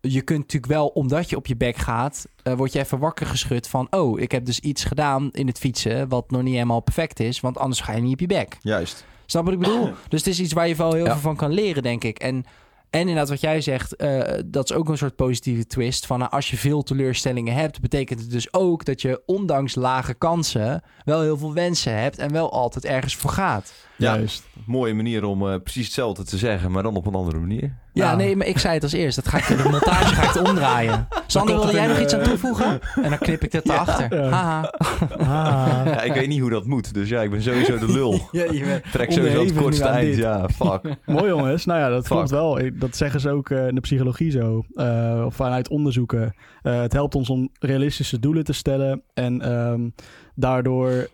je kunt natuurlijk wel, omdat je op je bek gaat, eh, word je even wakker geschud van, oh, ik heb dus iets gedaan in het fietsen wat nog niet helemaal perfect is, want anders ga je niet op je bek. Juist. Snap wat ik bedoel? Dus het is iets waar je wel heel Ja. veel van kan leren, denk ik. En, en inderdaad, wat jij zegt, eh, dat is ook een soort positieve twist. Van nou, als je veel teleurstellingen hebt, betekent het dus ook dat je ondanks lage kansen wel heel veel wensen hebt en wel altijd ergens voor gaat. Ja. Juist. Mooie manier om eh, precies hetzelfde te zeggen, maar dan op een andere manier. Ja, Nou. nee, maar ik zei het als eerst. Dat ga ik in de montage ga ik het omdraaien. Sander, komt het wil jij in, nog iets aan eh, toevoegen? En dan knip ik dit Ja. erachter. Ja. Haha. Ah. Ja, ik weet niet hoe dat moet, dus ja, ik ben sowieso de lul. Ja, je bent Trek sowieso het onderhevig kortste nu aan eind, dit. ja, fuck. Mooi jongens. Nou ja, dat Fuck. klopt wel. Ik- Dat zeggen ze ook eh, in de psychologie zo. eh, of vanuit onderzoeken. Eh, het helpt ons om realistische doelen te stellen. En ehm, daardoor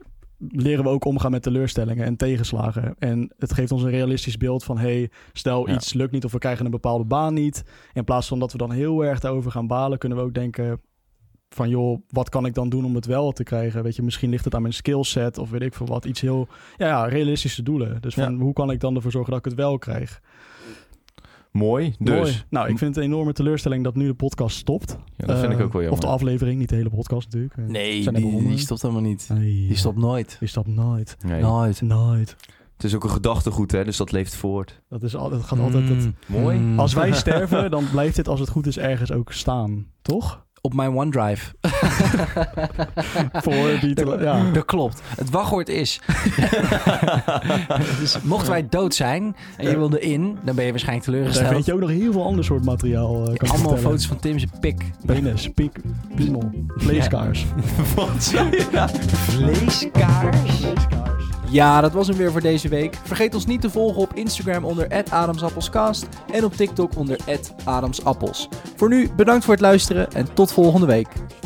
leren we ook omgaan met teleurstellingen en tegenslagen. En het geeft ons een realistisch beeld van... hey, stel Ja. iets lukt niet of we krijgen een bepaalde baan niet. In plaats van dat we dan heel erg daarover gaan balen... kunnen we ook denken van joh, wat kan ik dan doen om het wel te krijgen? Weet je, misschien ligt het aan mijn skillset of weet ik veel wat. Iets heel, ja, ja realistische doelen. Dus van hoe kan ik dan ervoor zorgen dat ik het wel krijg? Mooi, dus. Mooi. Nou, ik vind het een enorme teleurstelling dat nu de podcast stopt. Ja, dat vind ik Eh, ook wel Of jammer. de aflevering, niet de hele podcast natuurlijk. Eh, Nee, Zijn er die, begonnen? die stopt helemaal niet. nee. Die stopt nooit. Die stopt nooit. Nee. Nooit. Nooit. Het is ook een gedachtegoed, hè, dus dat leeft voort. Dat, is al, dat gaat altijd... dat- Mooi. Mm. als wij sterven, dan blijft dit als het goed is ergens ook staan. Toch? Op mijn OneDrive. Ah. Voor die... tele- Ja. Dat klopt. Het wachtwoord is. dus mochten wij dood zijn en je wilde in, dan ben je waarschijnlijk Daar vind teleurgesteld. je ook nog heel veel ander soort materiaal. eh, kan ik Allemaal vertellen. foto's van Tim's pik. Penis, pik, piemel, vleeskaars. Wat zei je nou? Vleeskaars. Ja, dat was hem weer voor deze week. Vergeet ons niet te volgen op Instagram onder @adamsappelscast en op TikTok onder @adamsappels. Voor nu bedankt voor het luisteren en tot volgende week.